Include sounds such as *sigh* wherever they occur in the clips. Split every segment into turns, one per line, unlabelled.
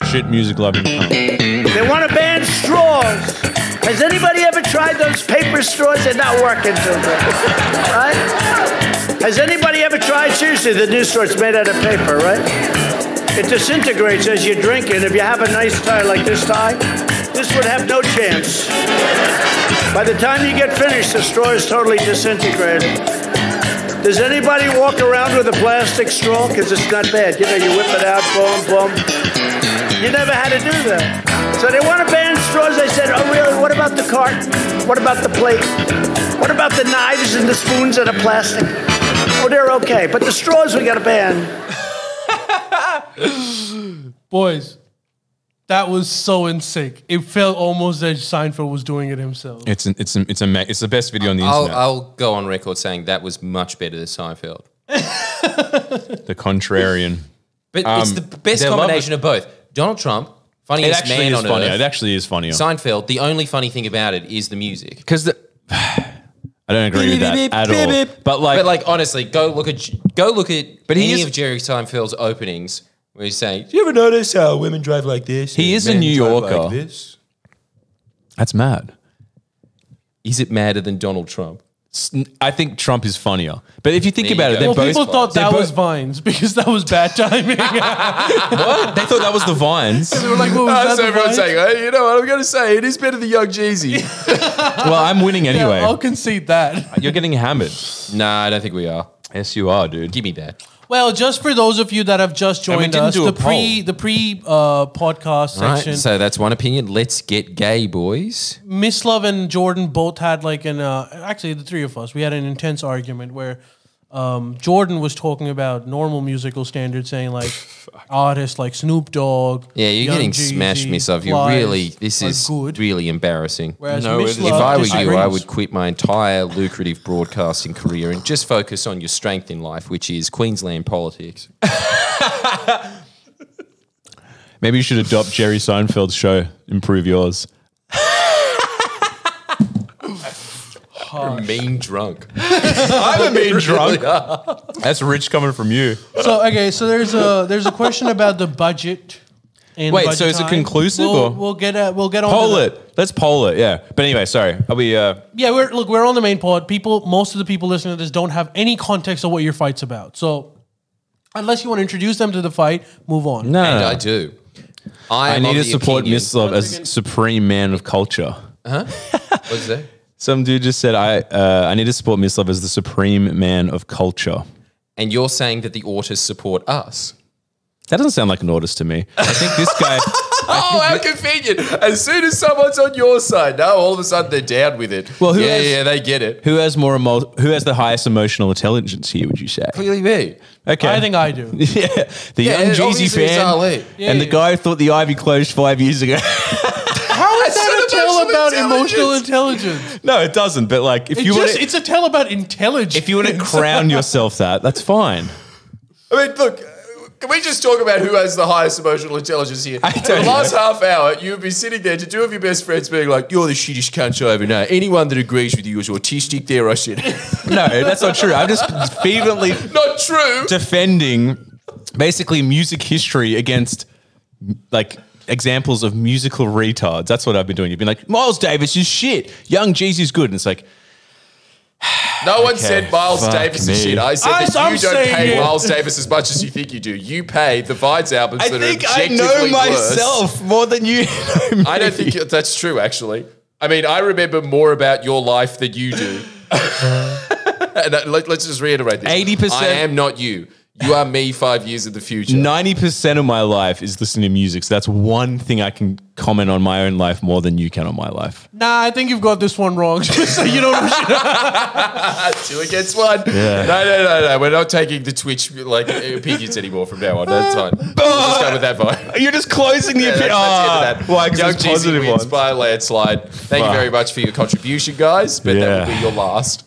bullshit music loving.
They want to ban straws. Has anybody ever tried those paper straws? They're not working too good. Right? Has anybody ever tried? Seriously, the new straws made out of paper, right? It disintegrates as you drink it. If you have a nice tie like this tie, this would have no chance. By the time you get finished, the straw is totally disintegrated. Does anybody walk around with a plastic straw? Because it's not bad. You know, you whip it out, boom, boom. You never had to do that. So they want to ban straws. I said, oh, really? What about the cart? What about the plate? What about the knives and the spoons that are plastic? Oh, they're okay. But the straws we got to ban.
Boys, that was so in sync. It felt almost as Seinfeld was doing it himself.
It's an, it's an, it's a ma- it's the best video on the
I'll,
internet.
I'll go on record saying that was much better than Seinfeld.
the contrarian.
But it's
Um,
the best
they love
combination of both. Donald Trump,
It
funniest
actually
man
is
on
funnier. It
earth.
actually is funnier.
Seinfeld, the only funny thing about it is the music.
Because the *sighs* I don't agree with that at all. But like,
But like honestly, go look at go look at
But he
any
is-
of Jerry Seinfeld's openings where he's saying, "Do you ever notice how women drive like this?
He
and
is a
men
New
drive
Yorker.
Like this?
that's mad.
Is it madder than Donald Trump?
S- I think Trump is funnier. But if you think
There you
about
go.
it, they're
well,
both
people thought
they're
that
both-
was Vines *laughs* because that was bad
*laughs*
timing.
What? *laughs* They thought that was the
*laughs*
vines.
We're like, what was that, the Vines?
you know what I'm going to say? It is better than
*laughs*
Young Jeezy.
well, I'm winning
Yeah,
anyway.
I'll concede that.
You're getting hammered.
nah, I don't think we are.
Yes, you are, dude.
Give me that.
Well, just for those of you that have just
we
joined
didn't
us,
do a
the pre
poll.
the pre uh, podcast
Right,
section,
so that's one opinion. Let's get gay, boys.
Miss Love and Jordan both had like an uh, actually the three of us we had an intense argument where um, Jordan was talking about normal musical standards,
*laughs*
saying like artists like Snoop Dogg.
Yeah, you're
Young
getting
Jeezy,
smashed, Miss Love. You
Flies
really, this
are
is
good.
really embarrassing.
Whereas
No,
Miss
it
Love
isn't.
if I were you, I
disagrees.
would quit my entire lucrative broadcasting career and just focus on your strength in life, which is Queensland politics.
Oh.
Maybe you should adopt Jerry Seinfeld's show, improve yours.
mean drunk.
I'm a mean drunk. That's rich coming from you.
So okay, so there's a there's a question about the budget. and
Wait,
budget
so is it
time.
conclusive
We'll,
or-
we'll get a, we'll get on
Poll
to the-
it. Let's poll it. Yeah. But anyway, sorry. Are we? Uh,
Yeah, we're look, we're on the main pod. People, most of the people listening to this don't have any context of what your fight's about. So, unless you want to introduce them to the fight, move on.
no.
And I do. I,
I
am
need
of
to
the
support
opinion-
Miss Love as supreme man of culture.
What's that?
Some dude just said, "I uh, I need to support Miss Love as the supreme man of culture."
And you're saying that the autists support us.
That doesn't sound like an artist to me. I think this guy.
Oh, how convenient. As soon as someone's on your side, now all of a sudden they're down with it.
Well, who
yeah,
has-
yeah, they get it.
Who has more emo- Who has the highest emotional intelligence here? Would you say?
Clearly me.
Okay,
I think I do.
*laughs* yeah, the young
it
Jeezy
obviously is
fan
Ali.
and the guy who thought the Ivy closed five years ago. *laughs*
How is that a
said
tell about emotional
emotional
intelligence?
no, it doesn't. But like, if
It
you want,
just, it's a tell about intelligence.
if you
*laughs*
want to crown yourself that, that's fine.
I mean, look, can we just talk about who has the highest emotional intelligence here?
I don't
the last half hour, you'd be sitting there to two of your best friends being like, you're the shittiest cunt I ever know. Anyone that agrees with you is autistic, they're Russian.
No, that's not true. I'm just fervently
*laughs* Not true.
defending basically music history against like examples of musical retards. That's what I've been doing. You've been like, Miles Davis is shit. Young Jeezy's good. And it's like,
No one
Okay,
said Miles
fuck
Davis
me.
is shit. I said
I-
that
I'm
you don't
saying
pay
it.
Miles Davis as much as you think you do. You pay the Vines albums
I
that
think
are
I
objectively
know
worse.
myself more than you know me.
I don't think you- that's true, actually. I mean, I remember more about your life than you *laughs* do. and uh, let, us just reiterate this
80%
I am not you. You are me five years in the future.
90% of my life is listening to music. So that's one thing I can comment on my own life more than you can on my life.
nah, I think you've got this one wrong. *laughs* Just so
*laughs*
you don't know shit.
Two against one. No, no, no, no. We're not taking the Twitch like opinions anymore from now on. That's fine. We'll just go with that vibe.
You're just closing the
*laughs* Yeah, that's, that's the end of that.
Ah, Why?
Young
Because it's
Jeezy
positive
wins
one.
by a landslide. Thank you very much for your contribution, guys. But that will
Yeah.
be your last.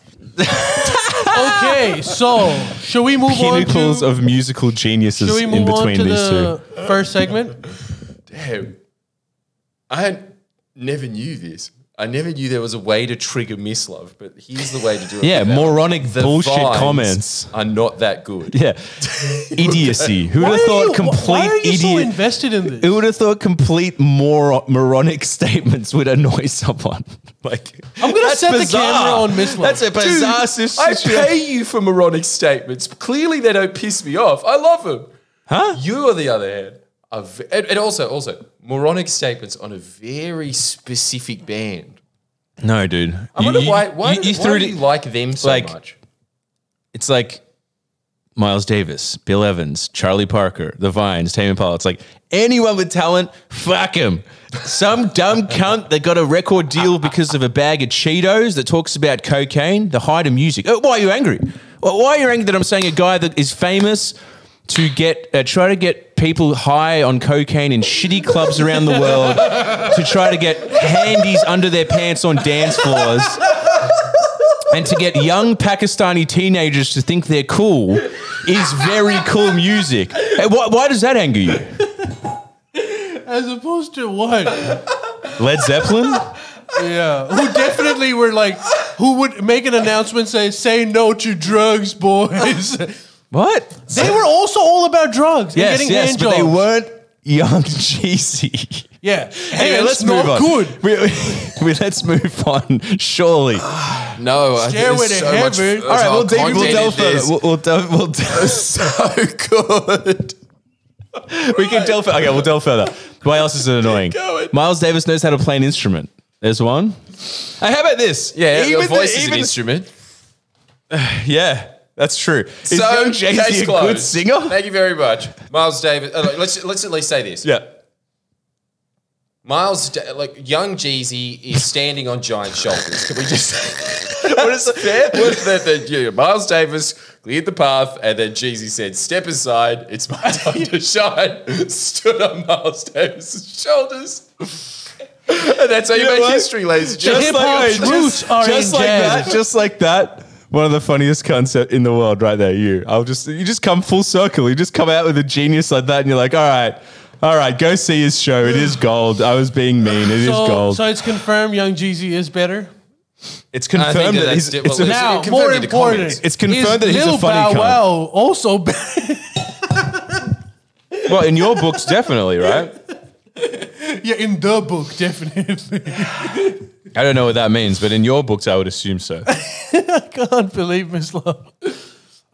Okay, so shall we move
Pinnacles
on to?
of musical
shall
geniuses
we
in
move on
between
to
these
the
two.
first segment?
Damn. I never knew this. I never knew there was a way to trigger mislove, but here's the way to *laughs* do it.
Yeah,
without.
moronic
The
bullshit
vines
comments.
are not that good.
Yeah, idiocy. Who would
Why
have
are
thought
you-
complete
Why are you
idiot?
so invested in this?
Who would have thought complete mor- moronic *laughs* statements would annoy someone? *laughs* Like
I'm gonna
that's
set the
bizarre.
camera on Miss Love.
That's a
*laughs* Dude,
bizarre sis-
I
situation.
pay you for moronic statements. Clearly, they don't piss me off. I love them. Huh? You, on the other hand, are v- and, and also also moronic statements on a very specific band.
No, dude.
I wonder why. Why, you, why do you like them so
like-
much?
it's like Miles Davis, Bill Evans, Charlie Parker, The Vines, Tame Impala. It's like anyone with talent, fuck him. Some dumb cunt that got a record deal because of a bag of Cheetos that talks about cocaine, the height of music. Oh, why are you angry? Well, why are you angry that I'm saying a guy that is famous to get uh, try to get people high on cocaine in shitty clubs around the world to try to get handies under their pants on dance floors? and to get young Pakistani teenagers to think they're cool is very cool music. Hey, why, why does that anger you?
As opposed to what?
Led Zeppelin?
Yeah. Who definitely were like, who would make an announcement say, say no to drugs, boys? *laughs*
What?
they were also all about drugs. and
yes,
getting
yes,
hand
but they
jobs.
weren't young *laughs* Jeezy.
Yeah.
Anyway,
And
let's
it's
move on.
not good.
We, we- let's move on. Surely. All
No, I think
Stairway
there's
to
so much-
Heaven.
there's
All right,
our
we'll, delve- we'll
content
delve
in
further.
this.
We'll, we'll delve. We'll delve. *laughs*
*laughs* so good.
we can delve. fur- Okay, we'll delve further. Why else is it annoying?
going.
Miles Davis knows how to play an instrument. There's one. Hey, how about this?
Yeah, your
Even the-
voice is an
even-
instrument.
Yeah, that's true. Is
so
young Jay-Z
case
a good
closed.
singer?
Thank you very much, Miles Davis. uh, like, let's let's at least say this.
Yeah.
Miles, Da- like young Jeezy, is standing on giant shoulders. Can we just?
*laughs* What
*laughs*
is
That was the, the, yeah, Miles Davis cleared the path, and then Jeezy said, "Step aside, it's
*laughs*
my time to shine." Stood on Miles Davis's shoulders. *laughs* and that's how you,
know
make
what?
history, ladies and
Just
gentlemen.
like,
hip-hop's roots
just,
are
just
in
like
jazz.
that, just like that. One of the funniest concept in the world, right there. You, I'll just you just come full circle. You just come out with a genius like that, and you're like, all right, all right, go see his show. It is gold. I was being mean. It is
So,
gold.
so it's confirmed Young Jeezy is better.
it's
I think
confirmed
that
that,
that's
he's.
di-
It's, a,
well, listen.
Now,
it
more
confirmed in the comments.
important,
It's confirmed that he's a
Lil
funny
Bow
cunt.
Wow also *laughs* better.
well, in your books,
*laughs*
definitely, right?
yeah, in the book, definitely. *laughs*
I don't know what that means, but in your books, I would assume so.
Can't believe Miss Love.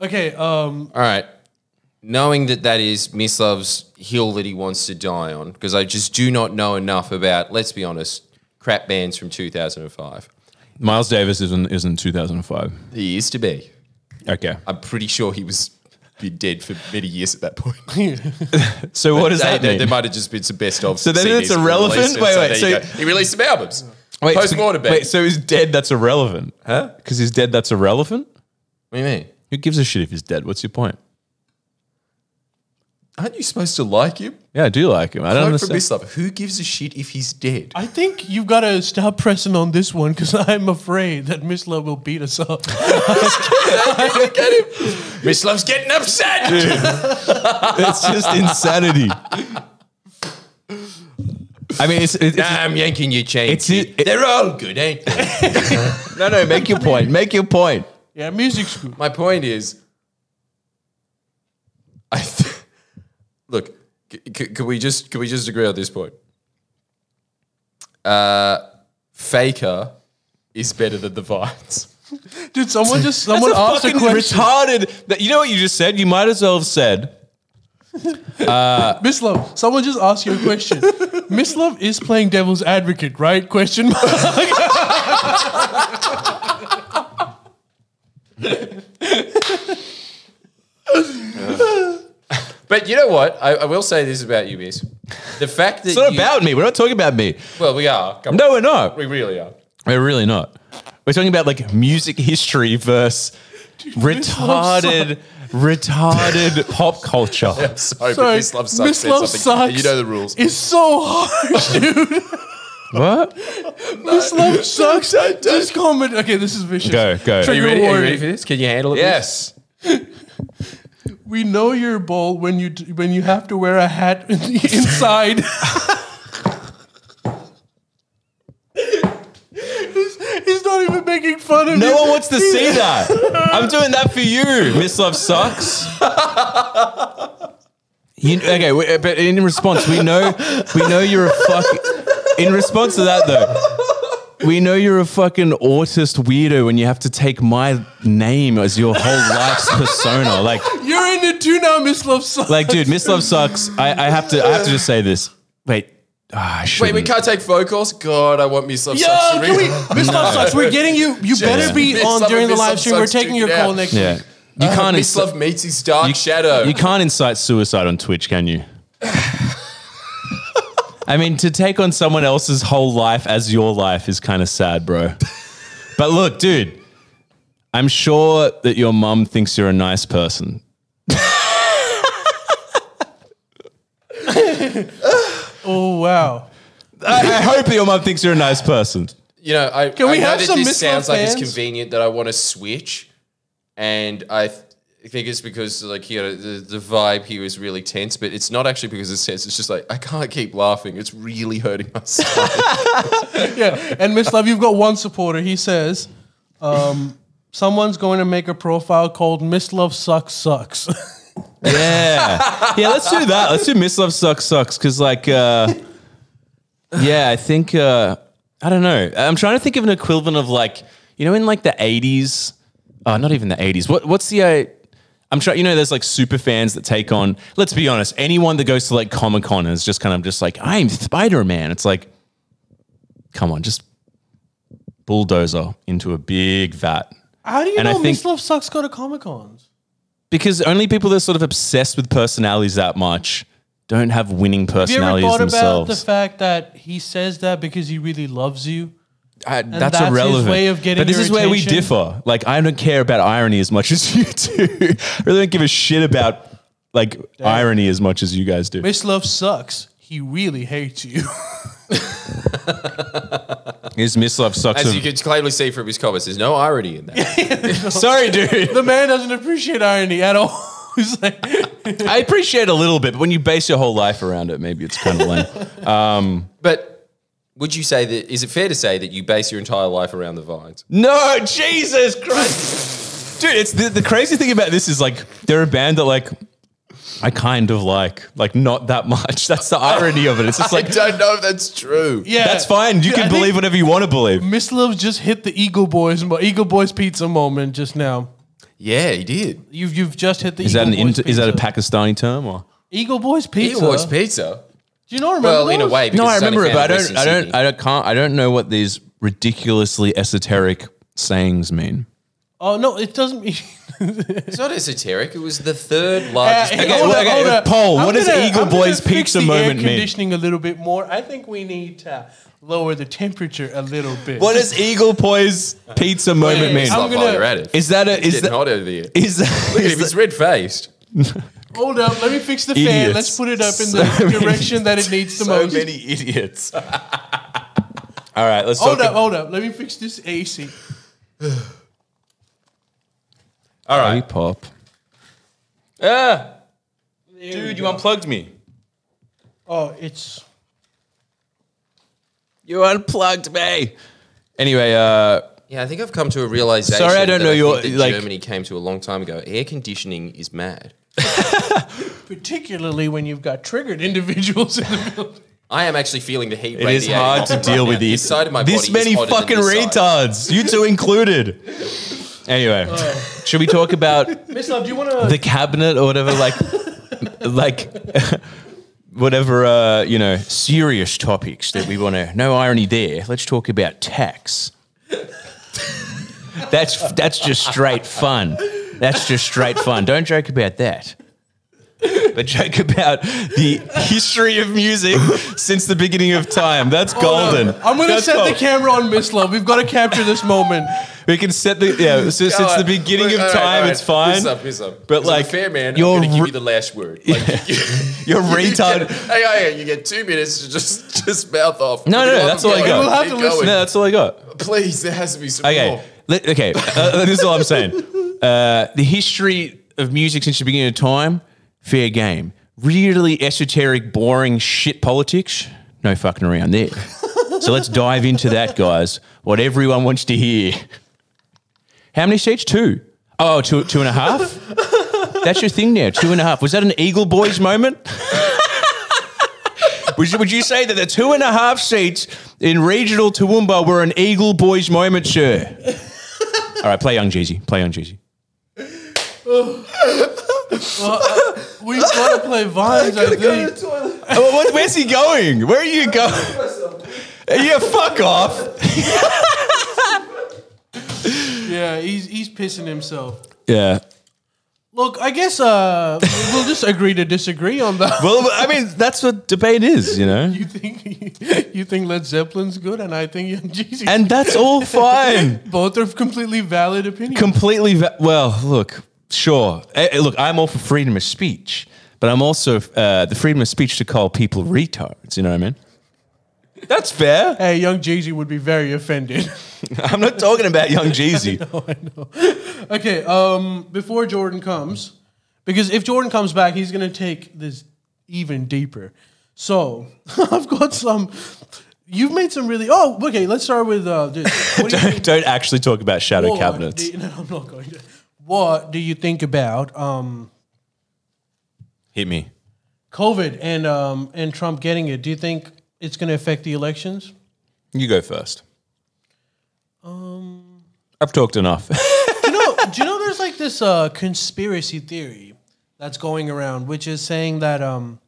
Okay, um,
All right. Knowing that that is Miss Love's hill that he wants to die on, because I just do not know enough about, let's be honest, crap bands from 2005.
Miles Davis is in, is in 2005.
He used to be.
Okay.
I'm pretty sure he was been dead for many years at that point. *laughs*
So what does
They-
that
they-
mean?
There might have just been some best of.
So then
CDs
it's
that were
irrelevant?
released, and
Wait,
so
wait,
there
so-
you go. he released some albums.
Wait,
post
so,
mortem.
wait, so he's dead. That's irrelevant, huh? Because he's dead. That's irrelevant.
what do you mean?
Who gives a shit if he's dead? What's your point?
Aren't you supposed to like him?
Yeah, I do like him. I don't
Vote for Miss
understand.
Love. Who gives a shit if he's dead?
I think you've got to stop pressing on this one because *laughs* I'm afraid that Miss Love will beat us up.
Miss Love's getting *laughs* upset.
It's just insanity. I mean, it's, it's,
nah, I'm yanking your chain.
It's
kid.
it- it-
They're all good, ain't they?
no, no. Make your point. Make your point.
yeah, music school.
My point is, I th- *laughs* look. C- c- can we just can we just agree on this point? Uh, Faker is better than the Vines.
Dude, someone just someone
That's
asked a question.
retarded. That you know what you just said. You might as well have said.
Miss Love, someone just asked you a
*laughs*
question. Miss Love is playing devil's advocate, right? Question mark. *laughs*
But you know what? I, I will say this about you, Miss. The fact that
It's not
you-
about me. We're not talking about me.
well, we are. Come
No, we're not.
we really are.
We're really not. We're talking about like music history versus retarded, *laughs* retarded pop culture.
Sorry, but
Sorry,
Miss Love sucks.
Miss
said
Love
something, and
sucks.
You know the rules.
It's so harsh, dude.
What?
Miss
Uh, *laughs*
Love sucks. This comment. Okay, this is vicious.
Go, go.
Are
Trigger
you, ready? Are you
warning.
ready for this? Can you handle it?
Yes.
We know you're bald when you d- when you have to wear a hat *laughs* in
*laughs*
the inside.
wants to see that. I'm doing that for you, Miss Love Sucks. You, okay, we- uh, but in response, we know we know you're a fuck. In response to that, though, we know you're a fucking autist weirdo when you have to take my name as your whole life's persona. Like,
You're in the do now, Miss Love song.
like, dude, Miss Love Sucks. I, I have to, I have to just say this. Wait, ah, I
Wait, we
shouldn't.
can't take phone calls. God, I want me some.
Yo, can we, Miss
*laughs*
Love Sucks, we're getting you. You better be
Miss
on
Love-
during the
Miss
live
Love
stream. We're
Sucks,
taking your
check it
call
out.
next
Yeah,
week.
you can't.
Uh, Miss
Ins-
Love meets his dark shadow.
You can't incite suicide on Twitch, can you? I mean, to take on someone else's whole life as your life is kind of sad, bro. But look, dude, I'm sure that your mum thinks you're a nice person.
*laughs* Oh wow.
I, I hope that your mum thinks you're a nice person.
you know, I,
Can we
I know
have
that
some
this
Miss Love
sounds like it's
fans?
convenient that I want to switch, and I th- think it's because like you know the, the vibe here is really tense, but it's not actually because it's tense. It's just like I can't keep laughing. It's really hurting my soul.
Yeah. And Miss Love, you've got one supporter. He says, um, someone's going to make a profile called Miss Love Sucks Sucks. *laughs*
Yeah. Yeah, let's do that. Let's do Miss Love Sucks Sucks. Cause like uh Yeah, I think uh I don't know. I'm trying to think of an equivalent of like, you know, in like the eighties. Uh not even the eighties. What what's the uh, I'm trying, you know, there's like super fans that take on, let's be honest, anyone that goes to like Comic Con is just kind of just like, I'm Spider Man. It's like, come on, just bulldozer into a big vat.
How do you
And I
know Miss
think-
Love Sucks go to Comic Cons?
because only people that are sort of obsessed with personalities that much don't have winning
Have you ever
personalities
thought about
themselves.
the fact that he says that because he really loves you?
I- that's,
that's his
irrelevant.
way of getting
but this
your
is where we
attention?
differ. Like I don't care about irony as much as *laughs* you do. I really don't give a shit about like irony as much as you guys do.
Miss Love Sucks. He really hates you. *laughs*
Is Miss Love sucks? *laughs*
As
of-
you can clearly see from his comments, there's no irony in that.
Sorry, dude.
the
*laughs*
man doesn't appreciate irony at all. *laughs* He's like,
I appreciate a little bit, but when you base your whole life around it, maybe it's kind of lame. *laughs*
but would you say that? Is it fair to say that you base your entire life around the vines?
No, Jesus Christ. Dude, it's the, the crazy thing about this is like they're a band that like I kind of like, like not that much. *laughs* That's the irony of it. It's just
I
like
don't know if that's true.
yeah,
that's fine. You can
I think-
believe whatever you want to believe.
Miss Love just hit the Eagle Boys, mo- Eagle Boys pizza moment just now.
yeah, he did.
You've you've just hit the
Is
Eagle
that an
Boys
inter, is that a
pizza.
Pakistani term or?
Eagle Boys
He
pizza?
was pizza.
Do you not remember?
Well, in a
those?
way,
No,
because
I
it's only
remember it, but
found
I don't,
in Western
I
Sydney.
don't, I don't, can't, I don't know what these ridiculously esoteric sayings mean.
Oh no, it doesn't. *laughs* mean-
It's not esoteric. It was the third largest.
Uh,
Okay, well, okay, Paul, what does Eagle
I'm gonna
Boys
fix
pizza
the air
moment mean?
Conditioning a little bit more. I think we need to lower the temperature a little bit.
What does Eagle Poise pizza moment
Wait,
mean?
I'm
Stop
gonna-
while you're at it.
Is that a
It's
is
getting
that
hot over here.
is that,
Look at
is
him. He's red faced.
Hold up, let me fix the fan.
Idiots.
Let's put it up
*laughs*
in the direction that it needs the most.
idiots. All right, let's
Hold
talk.
up, hold up. Let me fix this AC.
All right, pop. Ah, dude, you unplugged me.
Oh, it's
You unplugged me. Anyway, uh,
Yeah, I think I've come to a realization.
Sorry, I don't
that
know
think
your-
that
like-
Germany came to a long time ago. Air conditioning is mad.
particularly when you've got triggered individuals in the building.
I am actually feeling the heat.
it is hard to deal with
This
these.
side of my
this
body
many
is hotter than
fucking
this side.
retards, you two
*laughs*
included. Anyway, should we talk about
*laughs* Miss Love, do you want to?
the cabinet or whatever? Like, *laughs* like. *laughs* Whatever uh, you know, serious topics that we want to. No irony there. Let's talk about tax. That's that's just straight fun. That's just straight fun. Don't joke about that. But joke about the history of music since the beginning of time. That's golden.
Uh, I'm going to
That's
set
gold.
the camera on Miss Love. We've got to capture this moment.
We can set the yeah. So since the beginning of time, it's fine.
Piss up, piss up.
But
As a
like,
fair man,
you're
I'm going to
re-
give you the last word. Like, *laughs* you,
*laughs*
You're
you
retard.
Get, hang on, hang on, you get two minutes to just *laughs* just mouth off.
No, no, no, that's all I got.
We'll
We'll
have to listen.
No, that's all I got.
Please, there has to be some
Okay.
more.
Let- okay. Uh, this is all I'm saying. Uh, the history of music since the beginning of time, fair game. Really esoteric, boring shit politics. No fucking around
*laughs*
there. so let's dive into that, guys. What everyone wants to hear. How many states? Two. Oh, two, two and a
*laughs*
half? That's your thing now, two and a half. Was that an Eagle Boys moment? would, you, would you say that the two and a half seats in regional Toowoomba were an Eagle Boys moment, sir? All right, play Young Jeezy. Play Young Jeezy.
We've got
*laughs*
to play vines, I think.
Oh, what- where's he going? Where are you going? Yeah, fuck off.
Yeah, he's he's pissing himself.
Yeah.
Look, I guess uh, we'll just agree to disagree on that. *laughs*
Well, I mean, that's what debate is, you know?
You think you think Led Zeppelin's good, and I think Young Jeezy.
And that's all fine.
both are completely valid opinions.
completely va- well look sure Eh, eh, look i'm all for freedom of speech but i'm also uh, the freedom of speech to call people retards you know what i mean that's fair
hey, Young Jeezy would be very offended. *laughs*
*laughs* i'm not talking about young jeezy
okay, um, before Jordan comes, because if Jordan comes back, he's gonna take this even deeper. So *laughs* I've got some. You've made some really. Oh, okay. Let's start with uh,
*laughs*
this. What do you think-
don't, don't actually talk about shadow
What
cabinets
do you- *laughs* no, I'm not going to. What do you think about um,
hit me
COVID and um, and Trump getting it? Do you think it's going to affect the elections?
you go first um i've talked enough *laughs*
Do you know? do you know? There's like this uh, conspiracy theory that's going around, which is saying that um,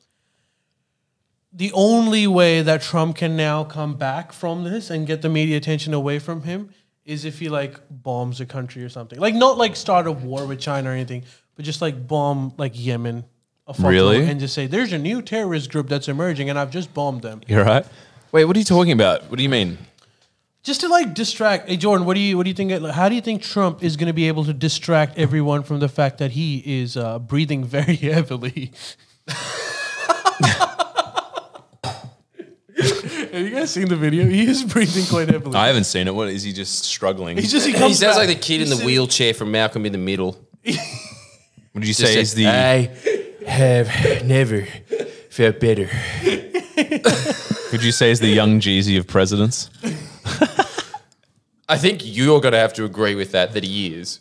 the only way that Trump can now come back from this and get the media attention away from him is if he like bombs a country or something. Like not like start a war with China or anything, but just like bomb like Yemen. a fuck
Really?
load And just say there's a new terrorist group that's emerging, and I've just bombed them,
you're right wait what are you talking about what do you mean
just to like distract. Hey Jordan, what do you what do you think? like, How do you think Trump is going to be able to distract everyone from the fact that he is uh, breathing *laughs* very *laughs* heavily? Have you guys seen the video? He is breathing quite heavily.
i haven't seen it what is he just struggling
He's just he,
He
comes
sounds
back.
like the kid in the wheelchair from Malcolm in the Middle.
what did you
Just
say is
said,
the
I have never felt better.
would you say is the young jeezy of presidents
I think you're going to have to agree with that, that he is.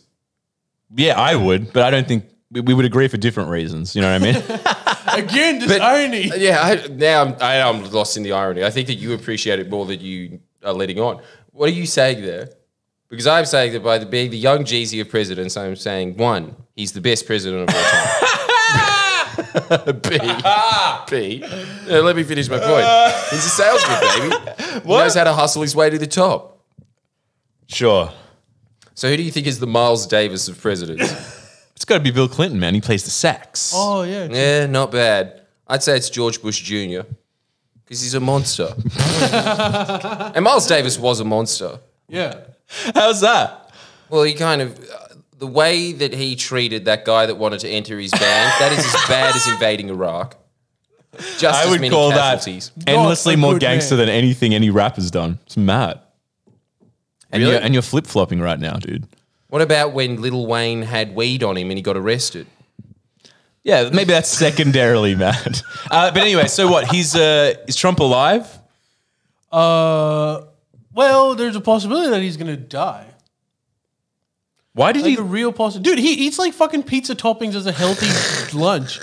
Yeah, I would, but I don't think we, we would agree for different reasons. You know what I *laughs* mean?
again this
But-
irony.
Yeah, I, now I'm, I, am lost in the irony. I think that you appreciate it more than you are letting on. What are you saying there? Because I'm saying that by the, being the young Jeezy of presidents, I'm saying one, he's the best president of all *laughs* time. B, B. Yeah, let me finish my point. He's a salesman, baby. He knows how to hustle his way to the top.
sure.
So who do you think is the Miles Davis of
*laughs*
presidents?
It's got to be Bill Clinton, man. He plays the sax.
Oh yeah.
Yeah, not bad. I'd say it's George Bush Jr. because he's
*laughs*
a monster. and Miles Davis was a monster.
Yeah.
How's that?
Well, he kind of. uh, The way that he treated that guy that wanted to enter his band, that is as bad as invading Iraq. Just
I
as
would
many
call
casualties.
that endlessly
a
more
good
gangster
man.
than anything any rapper's done. It's mad. And
Really?
you're and you're flip flopping right now, dude.
What about when Little Wayne had weed on him and he got arrested?
Yeah, maybe that's secondarily *laughs* mad. Uh, but anyway, so what? He's uh, is Trump alive?
Uh, well, there's a possibility that he's gonna die.
Why did
Like
he?
a real possibility. Dude, he eats like fucking pizza toppings as a healthy *laughs* lunch.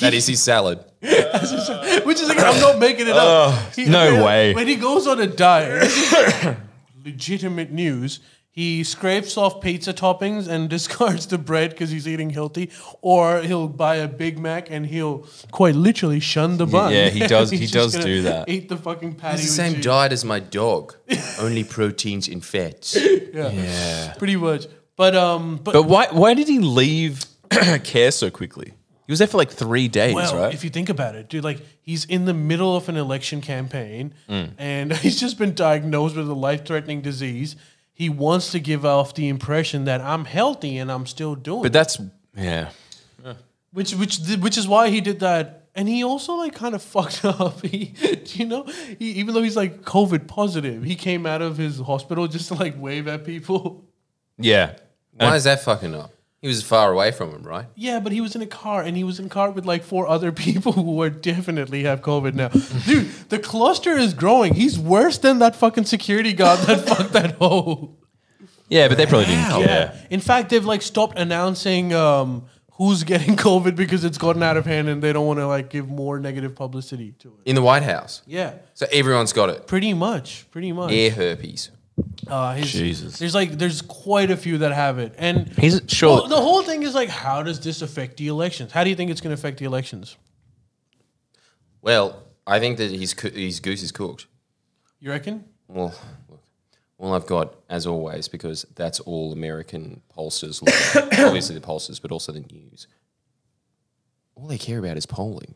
That is his salad.
Which is like, I'm not making it up. He-
Uh, no
when-
way.
When he goes on a diet, this is *coughs* legitimate news. He scrapes off pizza toppings and *laughs* discards the bread because he's eating healthy, or he'll buy a Big Mac and he'll quite literally shun the bun.
yeah, he does- he
*laughs* He's just
does
gonna
do that.
Eat the fucking patty.
It's the
with
same
cheese,
diet as my dog,
*laughs*
only proteins and fats.
pretty much. But um, but,
But why? Why did he leave *clears throat* care so quickly? He was there for like three days,
well,
right?
if you think about it, dude, like he's in the middle of an election campaign and *laughs* he's just been diagnosed with a life threatening disease. He wants to give off the impression that I'm healthy and I'm still doing
but
it.
that's yeah.
which which th- which is why he did that. And he also like kind of *laughs* fucked up. He, *laughs* you know, he, even though he's like COVID positive, he came out of his hospital just to like wave at people. *laughs*
Yeah.
Why is that fucking up? He was far away from him, right?
Yeah, but he was in a car, and he was in a car with like four other *laughs* people who are definitely have COVID now. Dude, the *laughs* cluster is growing. He's worse than that fucking security guard that fucked that hoe.
Yeah, but they probably didn't care.
In fact, they've like stopped announcing um, who's getting *laughs* COVID because it's gotten out of hand and they don't want to like give more negative publicity to it.
in the White House.
Yeah,
So everyone's got it.
pretty much, pretty much.
Air herpes.
Uh, his-
Jesus.
There's like there's quite a few that have it, and
He's sure.
Well, the whole thing is like, how does this affect the elections? How do you think it's going to affect the elections?
Well, I think that his coo- his goose is cooked.
You reckon?
Well, look, all I've got, as always, because that's all American pollsters
*coughs*
look at. Obviously, the pollsters, but also the news. All they care about is polling.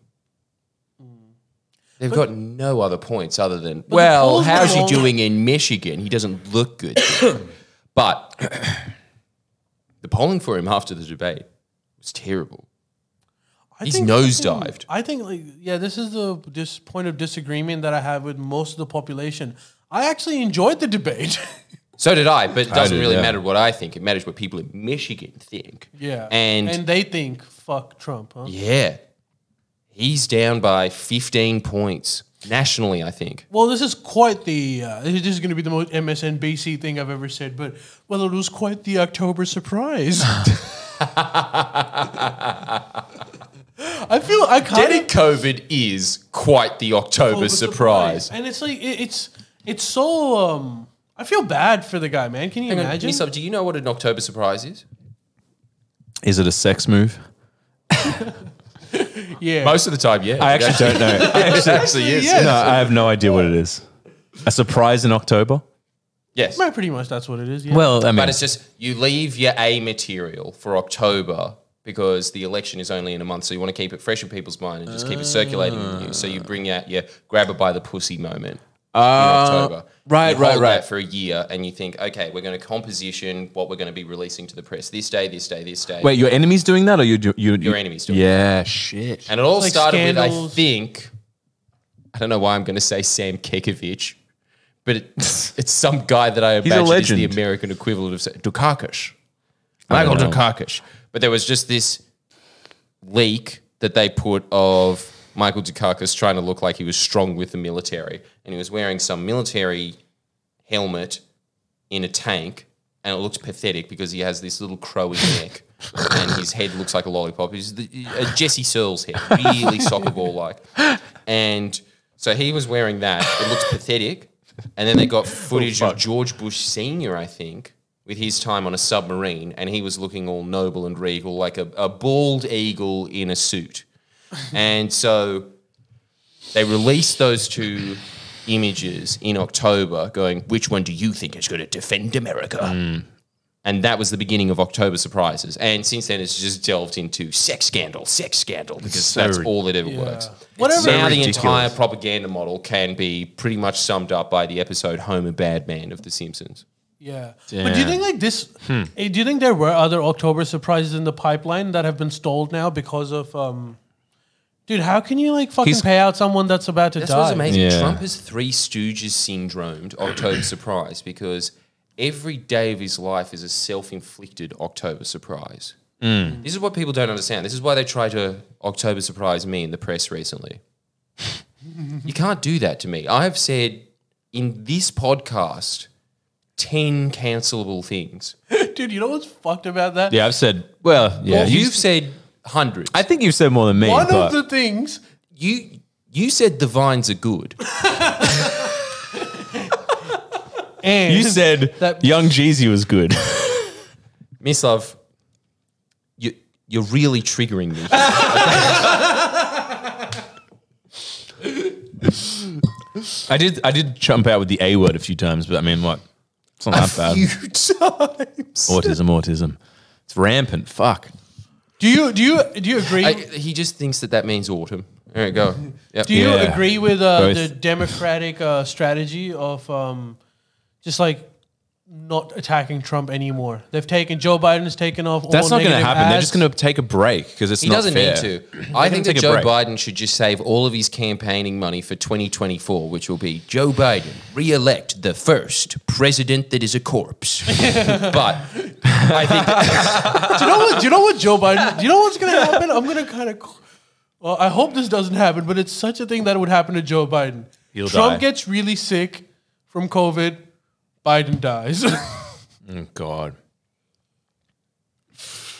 They've got no other points other than, well,
polls
how's he
don't-
doing in Michigan? He doesn't look good.
*coughs*
but *coughs* the polling for him after the debate was terrible.
I
He's
think-
nosedived.
I think like yeah, this is the this point of disagreement that I have with most of the population. I actually enjoyed the debate. *laughs*
So did I, but it doesn't
did,
really
yeah.
matter what I think. It matters what people in Michigan think.
yeah,
And,
and they think fuck Trump, huh?
yeah, he's down by 15 points nationally, I think.
Well, this is quite the. Uh, this is going to be the most MSNBC thing I've ever said, but well, it was quite the October
*laughs*
surprise. *laughs* I feel I kind
Getting
of
COVID is quite the October surprise.
and it's like it, it's it's so. Um, I feel bad for the guy, man. Can you
Hang on,
imagine?
Nisab, do you know what an October surprise is?
Is it a sex move?
yeah,
Most of the time, yeah.
I actually don't know. *laughs* I actually,
is.
yes.
no, I have no idea what it is. A surprise in October?
Yes.
Well, pretty much that's what it is. Yeah.
Well, I mean,
But it's just you leave your A material for October because the election is only in a month, so you want to keep it fresh in people's mind and just keep it circulating in you. So you bring out your grab her by the pussy moment in
Uh,
October.
right,
You
right,
hold
right.
that For a year, and you think, okay, we're going to composition what we're going to be releasing to the press this day, this day, this day.
wait, your enemy's doing that, or you, do- you,
Your enemy's doing
Yeah, shit.
and it all
like
started with I
scandals.
think I don't know why I'm going to say Sam Kekovich, but it, *laughs* it's some guy that I
a
imagine is the
legend.
American equivalent of Sa- Dukakis. Michael
don't know.
Dukakis. But there was just this leak that they put of Michael Dukakis trying to look like he was strong with the military, and he was wearing some military helmet in a tank, and it looks pathetic because he has this little crowy neck, and his head looks like a lollipop. He's the, a Jesse Searles head, really soccer ball like, and so he was wearing that. It looks pathetic, and then they got footage of George Bush Senior, I think. With his time on a submarine, and he was looking all noble and regal, like a, a bald eagle in a suit. And so they released those two images in October, going, which one do you think is going to defend America?
Mm.
And that was the beginning of October surprises. And since then, it's just delved into sex scandal, sex scandal, because
so
that's
rid-
all that ever works.
Whatever.
so
now
ridiculous.
the entire propaganda model can be pretty much summed up by the episode Homer Badman of The Simpsons.
Yeah. But do you
Damn.
think like this?
Hmm.
eh, Do you think there were other October surprises in the pipeline that have been stalled now because of? um Dude, how can you like fucking
He's-
pay out someone that's about to
That's
die?
what's amazing.
Yeah.
Trump has three Stooges syndromed October surprise because every day of his life is a self-inflicted October surprise.
Mm.
This is what people don't understand. This is why they try to October surprise me in the press recently. *laughs* you can't do that to me. I have said in this podcast ten cancelable things.
*laughs* Dude, you know what's fucked about that?
Yeah, I've said, well, yeah.
Well,
you-
you've said hundreds.
I think you've said more than me.
One
but
of the things
you you said the vines are good.
and
you said
That-
Young Jeezy was good. *laughs*
Miss Love, you you're really triggering me.
I did I did jump out with the A word a few times, but I mean, what? It's not that
*laughs*
bad.
few times.
*laughs* Autism, autism. It's rampant. Fuck.
Do you do you do you agree?
I, he just thinks that that means autumn. There
*laughs*
you go. Yep.
do you
Yeah.
agree with uh,
Both.
the Democratic uh, strategy of um, just like not attacking Trump anymore? They've taken Joe Biden's taken off. all
That's not going to
negative
happen. They're just
ads.
going to take a break because it's
he
not
doesn't
fair.
need to. I think
take
that
a
Joe
break.
Biden should just save all of his campaigning money for 2024, which will be Joe Biden re-elect the first president that is a
*laughs*
corpse. but I think
do you know what? Do you know what Joe Biden? Do you know what's going to happen? I'm going to kind of. Well, I hope this doesn't happen, but it's such a thing that would happen to Joe Biden.
He'll
Trump
die.
gets really sick from COVID. Biden dies. *laughs*
Oh, God.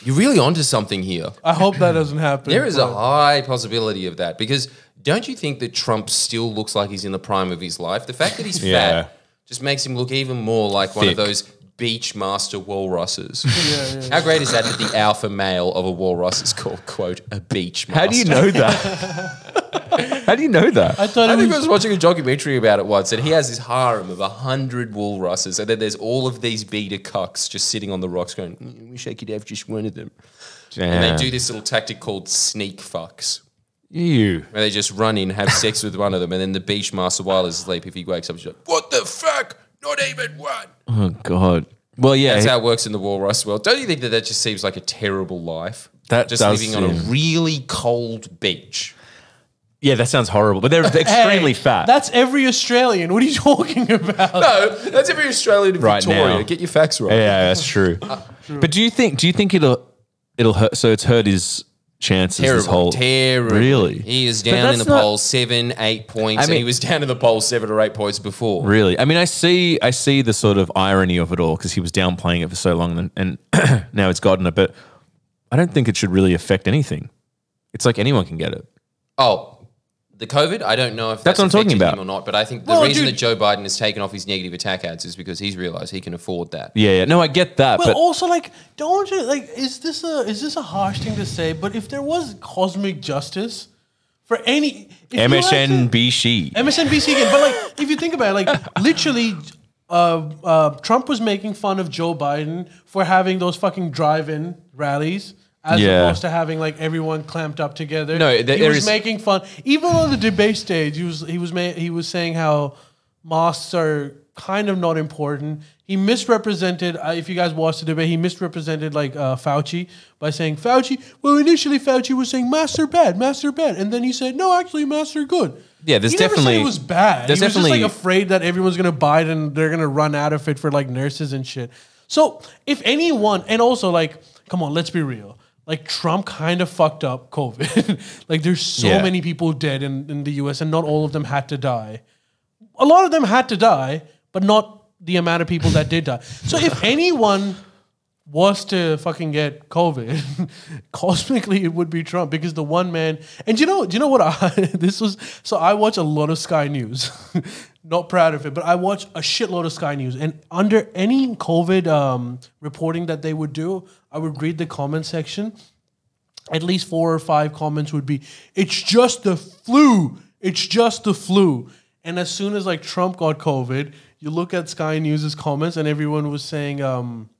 You're really onto something here.
I hope that doesn't happen.
There is a
but-
high possibility of that because don't you think that Trump still looks like he's in the prime of his life? The fact that he's
*laughs* Yeah.
fat just makes him look even more like one
Thick.
of those beach
*laughs*
master walruses.
yeah, yeah.
How great is that that the alpha male of a walrus is called, quote, a beach master?
How do you know that? How do you know
I
that? *laughs*
thought
I
it
think I
was.
was watching a documentary about it once, and he has this harem of a hundred walruses, and then there's all of these beta cucks just sitting on the rocks going, "Mm, "Wish I could have just one of them." And they do this little tactic called sneak fucks,
You.
where they just run in, have sex with one of them, and then the beach master while he's asleep, if he wakes up, he's like, "What the fuck? Not even one."
Oh God. Well, yeah.
That's how it works in the walrus world. Don't you think that that just seems like a terrible life?
That
just
does
living on a
seem-
really cold beach.
yeah, that sounds horrible. *laughs* But they're extremely
Hey,
fat.
That's every Australian. What are you *laughs* talking about?
No, that's every Australian in
Right
Victoria.
now.
Get your facts right.
yeah, that's
*laughs*
true.
Ah,
But do you think? Do you think it'll it'll hurt? So it's hurt his chances. This
Terrible,
whole
terrible.
Really?
He is
But
down in
that's
the
not-
polls seven, eight points,
I
and he
mean-
was down in the polls seven or eight points before.
Really, I mean, I see, I see the sort of irony of it all because he was downplaying it for so long, and, and *clears throat* now it's gotten it. But I don't think it should really affect anything. It's like anyone can get it.
Oh, the COVID. I don't know if
That's
that's,
what I'm talking
affected him
about.
or not, but I think the
Well,
reason
dude-
that Joe Biden has taken off his negative attack ads is because he's realized he can afford that.
Yeah, yeah. No, I get that,
But,
but
also, like, don't you like? Is this a is this a harsh thing to say? But if there was cosmic justice for any if you had to-
MSNBC.
MSNBC again, but like, if you think about it, like, literally, uh, uh, Trump was making fun of Joe Biden for having those fucking drive-in rallies. As
Yeah.
opposed to having like everyone clamped up together,
No,
he
there- there
was
is-
making fun. Even on the debate stage, he was he was ma- he was saying how mosques are kind of not important. He misrepresented. Uh, if you guys watched the debate, he misrepresented like uh, Fauci by saying Fauci. Well, initially Fauci was saying master bad, master bad, and then he said no, actually master good.
Yeah, there's
He never said
definitely-
it was bad.
there's
he was
definitely-
just like afraid that everyone's gonna buy it and they're gonna run out of it for like nurses and shit. So if anyone, and also like, come on, let's be real. Like Trump kind of fucked up COVID. *laughs* like there's so
Yeah.
many people dead in, in the US and not all of them had to die. A lot of them had to die, but not the amount of people that did die. So if anyone was to fucking get COVID, *laughs* cosmically it would be Trump because the one man. And you know, do you know what? I *laughs* this was so I watch a lot of Sky News. *laughs* Not proud of it, but I watch a shitload of Sky News, and under any COVID um, reporting that they would do, I would read the comment section. At least four or five comments would be, "It's just the flu. It's just the flu." And as soon as like Trump got COVID, you look at Sky News's comments, and everyone was saying. Um,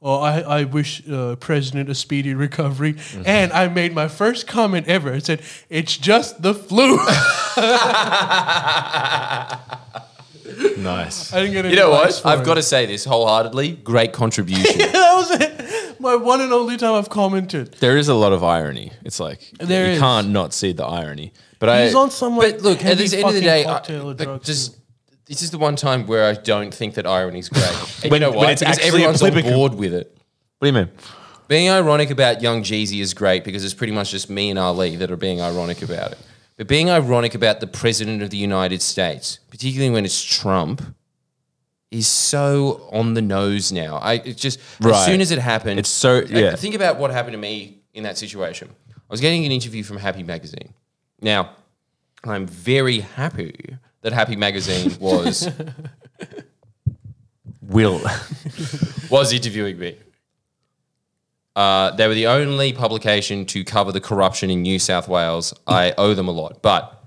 well, I, I wish uh, President a speedy recovery. And I made my first comment ever. It said, it's just the flu. *laughs* I
nice.
didn't get any
You know
likes
what?
for
I've
it. *laughs*
got to say this wholeheartedly. Great contribution.
that was it. My one and only time I've commented.
There is a lot of irony. It's like
There
you
is.
can't not see the irony. But
*laughs* He's
I,
on some like
but look, at
heavy
the end of the
fucking
day, I,
cocktail of
like,
drugs.
just this is the one time where I don't think that irony is great. And you
*laughs* When-
know
when
why?
it's
Because
actually
everyone's on
applicable.
board with it.
what do you mean?
Being ironic about Young Jeezy is great because it's pretty much just me and Ali that are being ironic about it. But being ironic about the President of the United States, particularly when it's Trump, is so on the nose now. I it's just as
Right.
soon as it happened,
It's so-
I-
yeah.
think about what happened to me in that situation. I was getting an interview from Happy Magazine. Now, I'm very happy that Happy Magazine
*laughs*
was
Will
was interviewing me. Uh, they were the only publication to cover the corruption in New South Wales. I owe them a lot, but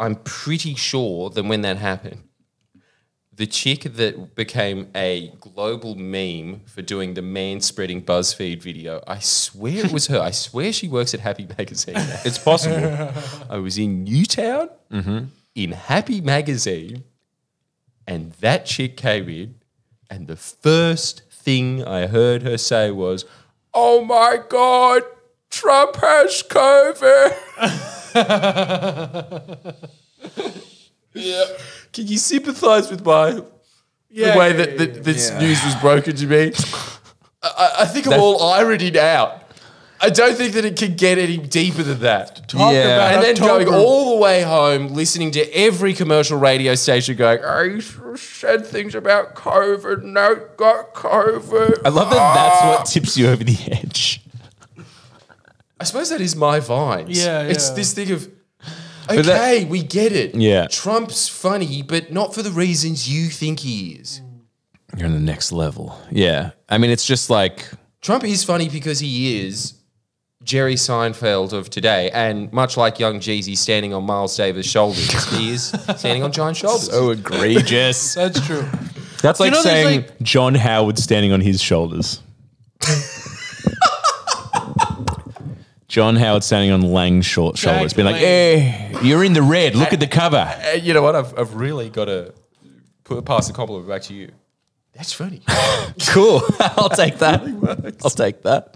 I'm pretty sure that when that happened, the chick that became a global meme for doing the man spreading BuzzFeed video, I swear it was her. I swear she works at Happy Magazine. now.
it's possible.
I was in Newtown in Happy Magazine, and that chick came in, and the first thing I heard her say was, "Oh my God, Trump has COVID." *laughs* yeah. Can you sympathise with my the way that, that this news was broken to me? I- I, I think I'm all ironied out. I don't think that it could get any deeper than that.
Talk
Yeah.
about
And then
October.
going all the way home, listening to every commercial radio station going, I said things about COVID, no, got COVID.
*laughs* I love that that's what tips you over the *laughs* edge.
I suppose that is my vines.
Yeah,
It's
yeah.
this thing of, okay,
But that-
we get it.
Yeah.
Trump's funny, but not for the reasons you think he is.
You're on the next level. Yeah. I mean, it's just like,
Trump is funny because he is Jerry Seinfeld of today, and much like young Jeezy standing on Miles Davis' shoulders, he is standing on giant shoulders.
oh, *laughs* egregious.
That's true.
That's like
know, there's
saying John Howard standing on his shoulders. John Howard standing on Lang's short shoulders, being like,
Lang.
hey, you're in the red. Look at the cover.
Uh, you know what? I've, I've really got to put, pass the compliment back to you. That's funny.
Cool. *laughs* I'll take that. *laughs* I'll take that.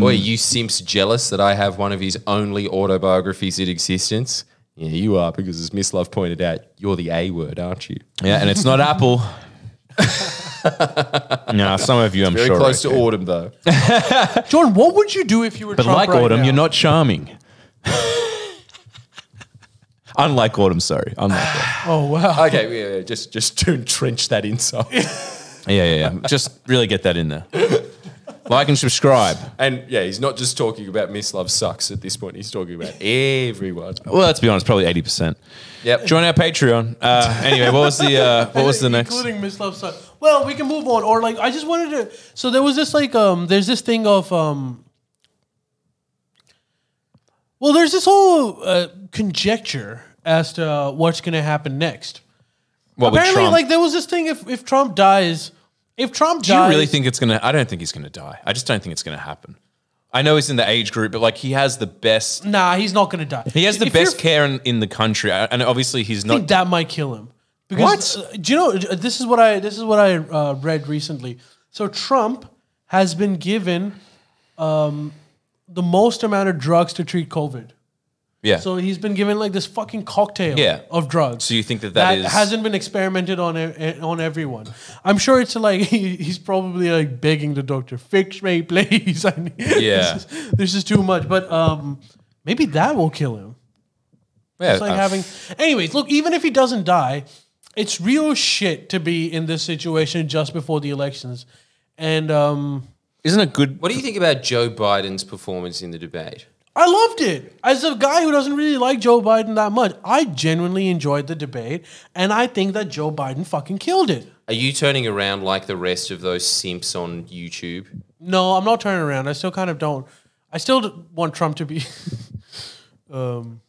Boy, you simps jealous that I have one of his only autobiographies in existence? Yeah, you are, because as Miss Love pointed out, you're the A word, aren't you?
Yeah, and it's not Apple. *laughs* no, some of you, I'm
Very
sure.
close
are
to autumn, though.
Jordan, what would you do if you were
But
Trump
like
right
Autumn,
now?
you're not charming. *laughs* Unlike Autumn, sorry. Unlike Autumn.
Oh wow.
*laughs* okay, yeah, yeah, just just to *laughs* entrench that insult.
Yeah, yeah, yeah. Just really get that in there. Like and subscribe.
and yeah, he's not just talking about Miss Love sucks at this point. He's talking about everyone.
Well, let's be honest, probably 80%.
Yep.
Join our Patreon. Uh, anyway, what was the uh, what was the next?
Including Miss Love Sucks. Well, we can move on. Or like, I just wanted to. So there was this like, um, there's this thing of, um, well, there's this whole uh, conjecture as to uh, what's going to happen next.
What with
Apparently,
Trump?
like there was this thing if if Trump dies, if Trump
Do you
dies,
really think it's gonna? I don't think he's gonna die. I just don't think it's gonna happen. I know he's in the age group, but like he has the best.
Nah, he's not going to die.
He has the
If you're
best care in, in the country, I- and obviously he's
I
not.
think that might kill him. Because,
What?
uh, do you know? uh, This is what I this is what I uh, read recently. So Trump has been given um, the most amount of drugs to treat COVID.
yeah.
So he's been given like this fucking cocktail
Yeah.
of drugs.
So you think that that is-
hasn't been experimented on e- e- on everyone? I'm sure it's like *laughs* he, he's probably like begging the doctor, fix me, *laughs* please. I need,
Yeah.
this is, this is too much. But um, maybe that will kill him.
yeah,
It's like
uh,
having. Anyways, look, even if he doesn't die, it's real shit to be in this situation just before the elections. And um,
isn't it good?
What do you think about Joe Biden's performance in the debate?
I loved it. As a guy who doesn't really like Joe Biden that much, I genuinely enjoyed the debate. And I think that Joe Biden fucking killed it.
Are you turning around like the rest of those simps on YouTube?
No, I'm not turning around. I still kind of don't. I still d- want Trump to be. *laughs* um,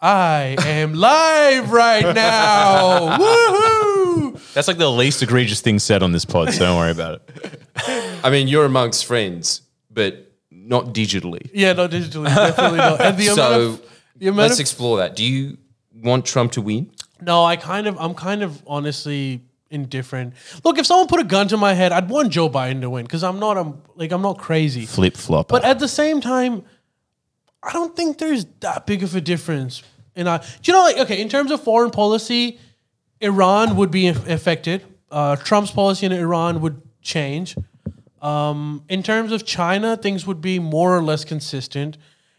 I am live
*laughs*
right now. Woohoo!
That's like the least egregious thing said on this pod. So don't worry about
*laughs*
it.
I mean, you're amongst friends, but not digitally.
Yeah, not digitally, definitely not. And the amount
*laughs* So
of, the amount
let's
of,
explore that. Do you want Trump to win?
no, I kind of, I'm kind of honestly indifferent. Look, if someone put a gun to my head, I'd want Joe Biden to win because I'm not, I'm like, I'm not crazy.
Flip flop.
But at the same time, I don't think there's that big of a difference. And I, do you know, like, okay, in terms of foreign policy, Iran would be aff- affected. Uh, Trump's policy in Iran would change. Um, in terms of China, things would be more or less consistent.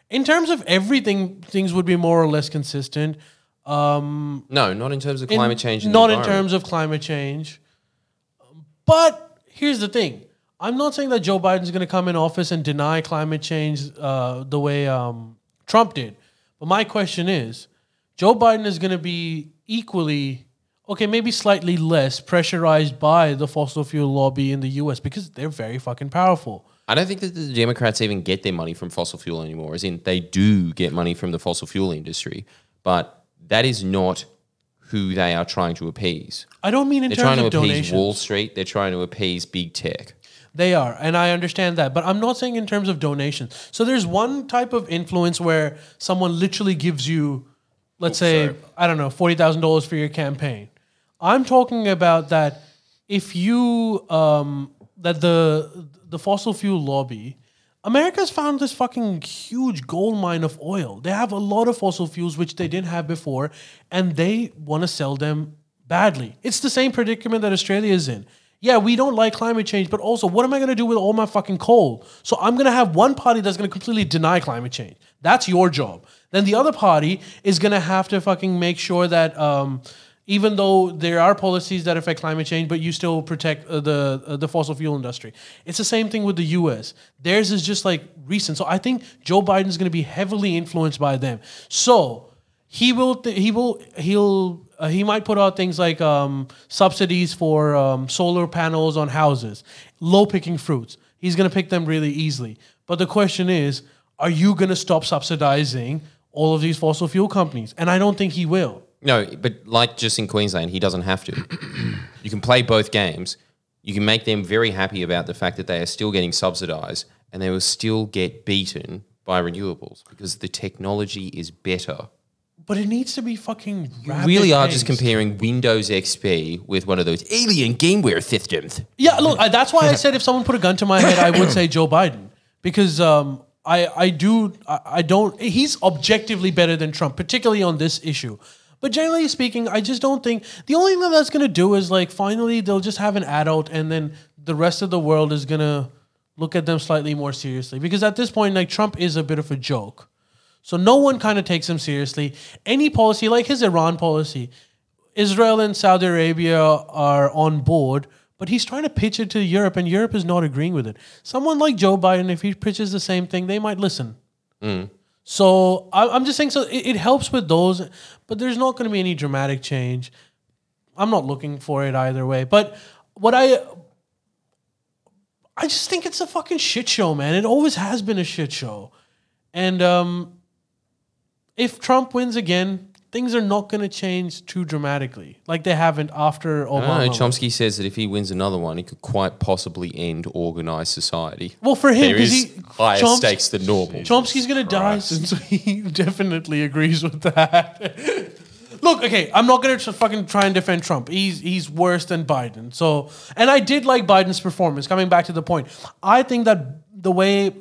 In terms of everything, things would be more or less consistent.
No, not in terms of
In-
climate change. and the
not in
environment.
terms of climate change. But here's the thing: I'm not saying that Joe Biden's going to come in office and deny climate change uh, the way um, Trump did. But my question is: Joe Biden is going to be equally, okay, maybe slightly less pressurized by the fossil fuel lobby in the U.S. because they're very fucking powerful.
I don't think that the Democrats even get their money from fossil fuel anymore. As in, they do get money from the fossil fuel industry, but that is not who they are trying to appease.
I don't mean in
They're
terms
trying to
of
appease
donations.
Wall Street. They're trying to appease big tech.
They are, and I understand that, but I'm not saying in terms of donations. So there's one type of influence where someone literally gives you, let's say, I don't know, forty thousand dollars for your campaign. I'm talking about that if you um, that the the fossil fuel lobby, America's found this fucking huge gold mine of oil. They have a lot of fossil fuels which they didn't have before, and they want to sell them badly. It's the same predicament that Australia is in. yeah, we don't like climate change, but also, what am I going to do with all my fucking coal? So I'm going to have one party that's going to completely deny climate change. That's your job. Then the other party is going to have to fucking make sure that um, even though there are policies that affect climate change, but you still protect uh, the uh, the fossil fuel industry. It's the same thing with the U.S. Theirs is just like recent. So I think Joe Biden is going to be heavily influenced by them. So he will th- he will he'll uh, he might put out things like um, subsidies for um, solar panels on houses, low picking fruits. He's going to pick them really easily. But the question is, are you going to stop subsidizing all of these fossil fuel companies? And I don't think he will.
No, but like just in Queensland, he doesn't have to. *coughs* you can play both games. You can make them very happy about the fact that they are still getting subsidized and they will still get beaten by renewables because the technology is better.
But it needs to be fucking.
You really are just
rapid-paced.
comparing Windows XP with one of those alien gameware systems.
Yeah, look, I, that's why I said if someone put a gun to my head, I would say Joe Biden because um, I I do I, I don't he's objectively better than Trump, particularly on this issue. But generally speaking, I just don't think the only thing that's gonna do is like finally they'll just have an adult, and then the rest of the world is gonna look at them slightly more seriously because at this point, like Trump is a bit of a joke. So no one kind of takes him seriously. Any policy, like his Iran policy, Israel and Saudi Arabia are on board, but he's trying to pitch it to Europe, and Europe is not agreeing with it. Someone like Joe Biden, if he pitches the same thing, they might listen. So I, I'm just saying, so it, it helps with those, but there's not going to be any dramatic change. I'm not looking for it either way. But what I I just think it's a fucking shit show, man. It always has been a shit show. And um, if Trump wins again, things are not going to change too dramatically, like they haven't after Obama.
No, Chomsky says that if he wins another one, he could quite possibly end organized society.
well, for him,
There
because
is
he
higher
Choms-
stakes than normal.
Chomsky's going to die, since he *laughs* definitely agrees with that. *laughs* Look, okay, I'm not going to fucking try and defend Trump. He's he's worse than Biden. So, and I did like Biden's performance. Coming back to the point, I think that the way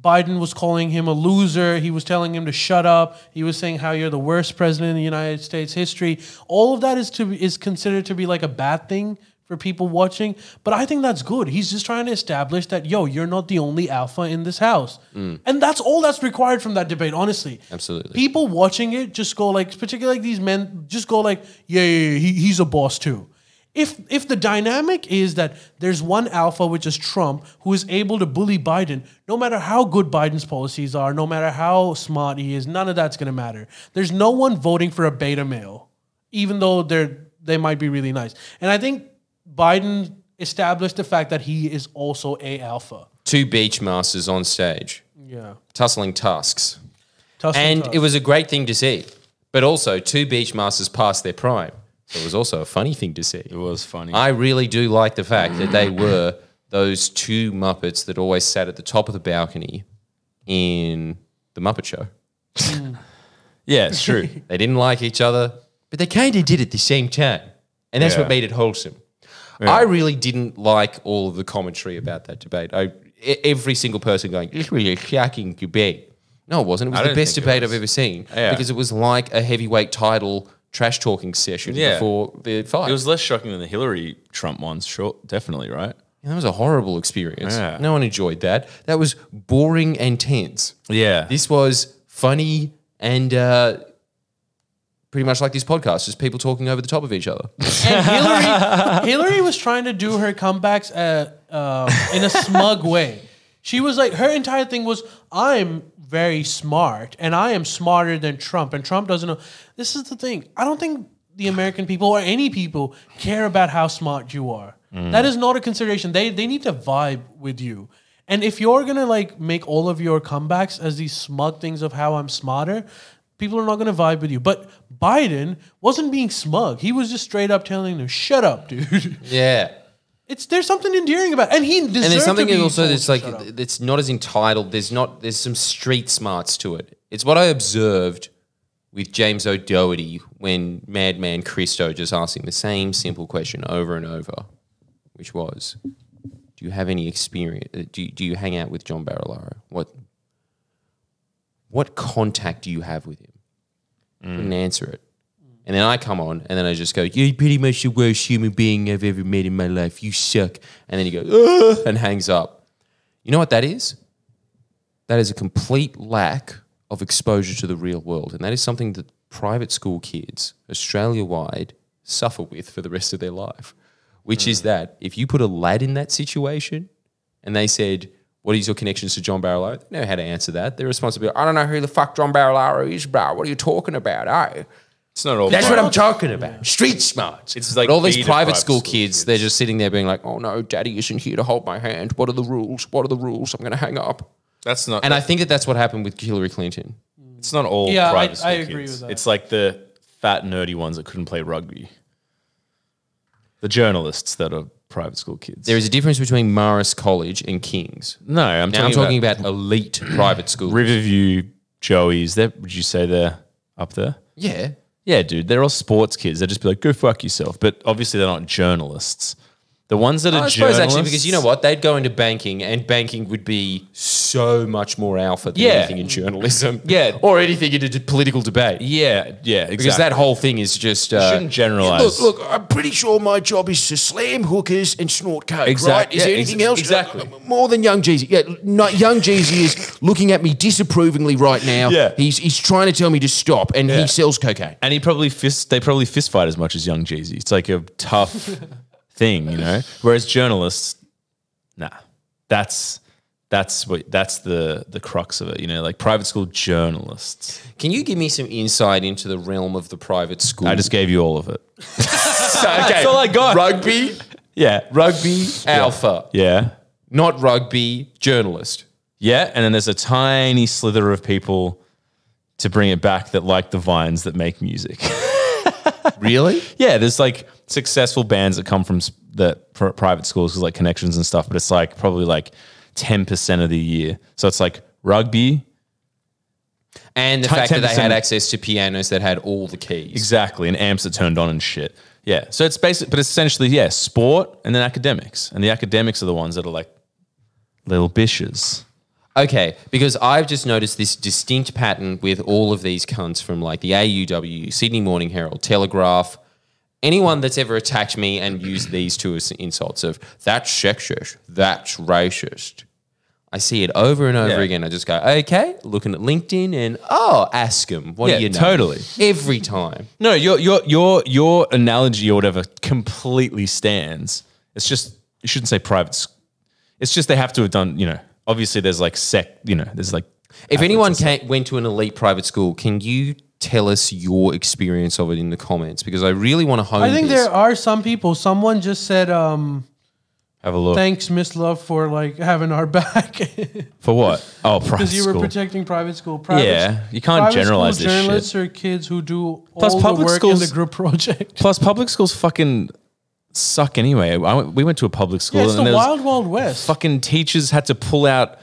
Biden was calling him a loser, he was telling him to shut up. He was saying how you're the worst president in the United States history. All of that is to is considered to be like a bad thing for people watching, but I think that's good. He's just trying to establish that yo, you're not the only alpha in this house. And that's all that's required from that debate, honestly.
Absolutely.
People watching it just go like, particularly like these men, just go like, yeah, yeah, yeah he, he's a boss too. If if the dynamic is that there's one alpha, which is Trump, who is able to bully Biden, no matter how good Biden's policies are, no matter how smart he is, none of that's gonna matter. There's no one voting for a beta male, even though they're they might be really nice. And I think Biden established the fact that he is also a alpha.
Two beach masters on stage,
Yeah.
tussling tusks.
Tussle
and
tussle.
it was a great thing to see. But also, two beach masters past their prime. So it was also a funny thing to see.
It was funny.
I really do like the fact that they were those two Muppets that always sat at the top of the balcony in The Muppet Show.
yeah, it's
*laughs*
true.
They didn't like each other, but they kind of did at the same time. And that's
Yeah.
what made it wholesome. I really didn't like all of the commentary about that debate. I, e- every single person going, this was a shocking debate. No, it wasn't. It was the
don't
best
think it
debate I've
was.
ever seen
Yeah.
because it was like a heavyweight title trash talking session
Yeah.
before the fight.
it was less shocking than the Hillary Trump ones, sure, definitely, right?
Yeah, that was a horrible experience.
Yeah.
No one enjoyed that. That was boring and tense.
Yeah.
This was funny and uh, pretty much like this podcast, just people talking over the top of each other.
And Hillary, Hillary was trying to do her comebacks uh, um in a smug way. She was like, her entire thing was, I'm very smart and I am smarter than Trump. And Trump doesn't know. This is the thing. I don't think the American people or any people care about how smart you are. That is not a consideration. They, they need to vibe with you. And if you're gonna like make all of your comebacks as these smug things of how I'm smarter, people are not gonna vibe with you. But Biden wasn't being smug. He was just straight up telling them, "Shut up, dude." *laughs*
yeah.
It's there's something endearing about, it. and he deserved
And there's something
to be
also
told
that's
to
like
shut up.
it's not as entitled. There's not there's some street smarts to it. It's what I observed with James O'Doherty when Madman Christo just asked him the same simple question over and over, which was, "Do you have any experience? uh, Do you, do you hang out with John Barilaro? What
Mm.
what contact do you have with him?" Couldn't answer it. And then I come on, and then I just go, "You're pretty much the worst human being I've ever met in my life. You suck." And then he goes "Ugh," and hangs up. You know what that is? That is a complete lack of exposure to the real world, and that is something that private school kids, Australia wide, suffer with for the rest of their life. Which is that if you put a lad in that situation, and they said, "What is your connections to John Barilaro?" They know how to answer that. Their response would be, "I don't know who the fuck John Barilaro is, bro. What are you talking about? Oh,
It's not all.
that's what
private.
I'm talking about. Street smart."
It's like
But all these
beta
private school
school
kids, they're just sitting there being like, "Oh no, daddy isn't here to hold my hand. What are the rules? What are the rules? I'm going to hang up."
That's not.
And I think that that's what happened with Hillary Clinton.
it's not all.
Yeah, I-
private school
I agree
kids.
with that.
It's like the fat nerdy ones that couldn't play rugby. The journalists that are private school kids.
There is a difference between Maris College and King's.
no, I'm
Now
talking,
I'm talking
about,
about, elite private schools.
Riverview Joeys. That would you say they're up there?
yeah.
Yeah, dude, they're all sports kids. They'd just be like, "Go fuck yourself." But obviously, they're not journalists. The ones that are
I suppose
journalists,
actually, because you know what, they'd go into banking, and banking would be so much more alpha than
Yeah.
anything in journalism,
Yeah.
*laughs* or anything in a d- political debate.
Yeah, yeah, exactly.
Because that whole thing is just uh,
shouldn't generalize.
Look, look, I'm pretty sure my job is to slam hookers and snort coke. Right?
Exact-
Is there
yeah,
anything
ex-
else?
exactly.
Uh, More than young Jeezy. Yeah, not, young Jeezy is looking at me disapprovingly right now.
Yeah.
he's he's trying to tell me to stop, and
Yeah.
he sells cocaine.
and he probably fist they probably fist fight as much as young Jeezy. It's like a tough thing, you know. Whereas journalists, nah, that's that's what that's the the crux of it, you know. Like private school journalists.
Can you give me some insight into the realm of the private school? *laughs*
I just gave you all of it.
that's
all I got.
Rugby,
Yeah,
rugby, alpha,
yeah,
not rugby journalist.
yeah. And then there's a tiny slither of people to bring it back that like the vines that make music. *laughs*
Really?
yeah, there's like successful bands that come from s- the pr- private schools because like connections and stuff, but it's like probably like 10% of the year. So it's like rugby,
And the fact that they
10%.
had access to pianos that had all the keys.
exactly, and amps that turned on and shit. Yeah. So it's basic, but it's essentially, yeah, sport and then academics. And the academics are the ones that are like little bishes.
Okay, because I've just noticed this distinct pattern with all of these cunts from like the AUW, Sydney Morning Herald, Telegraph, anyone that's ever attacked me and used these two as insults of that's sexist, that's racist. I see it over and over
Yeah.
again. I just go, okay, looking at LinkedIn and oh, ask them. What
Yeah,
do you know?
totally.
Every time.
No, your, your, your, your analogy or whatever completely stands. It's just, you shouldn't say private. s- It's just they have to have done, you know, obviously there's like sec, you know, there's like,
If anyone came, went to an elite private school, can you tell us your experience of it in the comments? Because I really want to hone
I think
this.
there are some people. Someone just said, um,
have a look.
"Thanks, Miss Love, for like having our *laughs* back."
For what? Oh, private
Because you were
school.
protecting private school. Private,
Yeah, you can't
private
generalize
school
this shit.
Journalists are kids who do
Plus
all
public
the work
schools-
in the group *laughs* project.
Plus, public schools fucking suck anyway. I went, we went to a public school
Yeah, it's
and
the
there was
wild, wild west.
fucking teachers had to pull out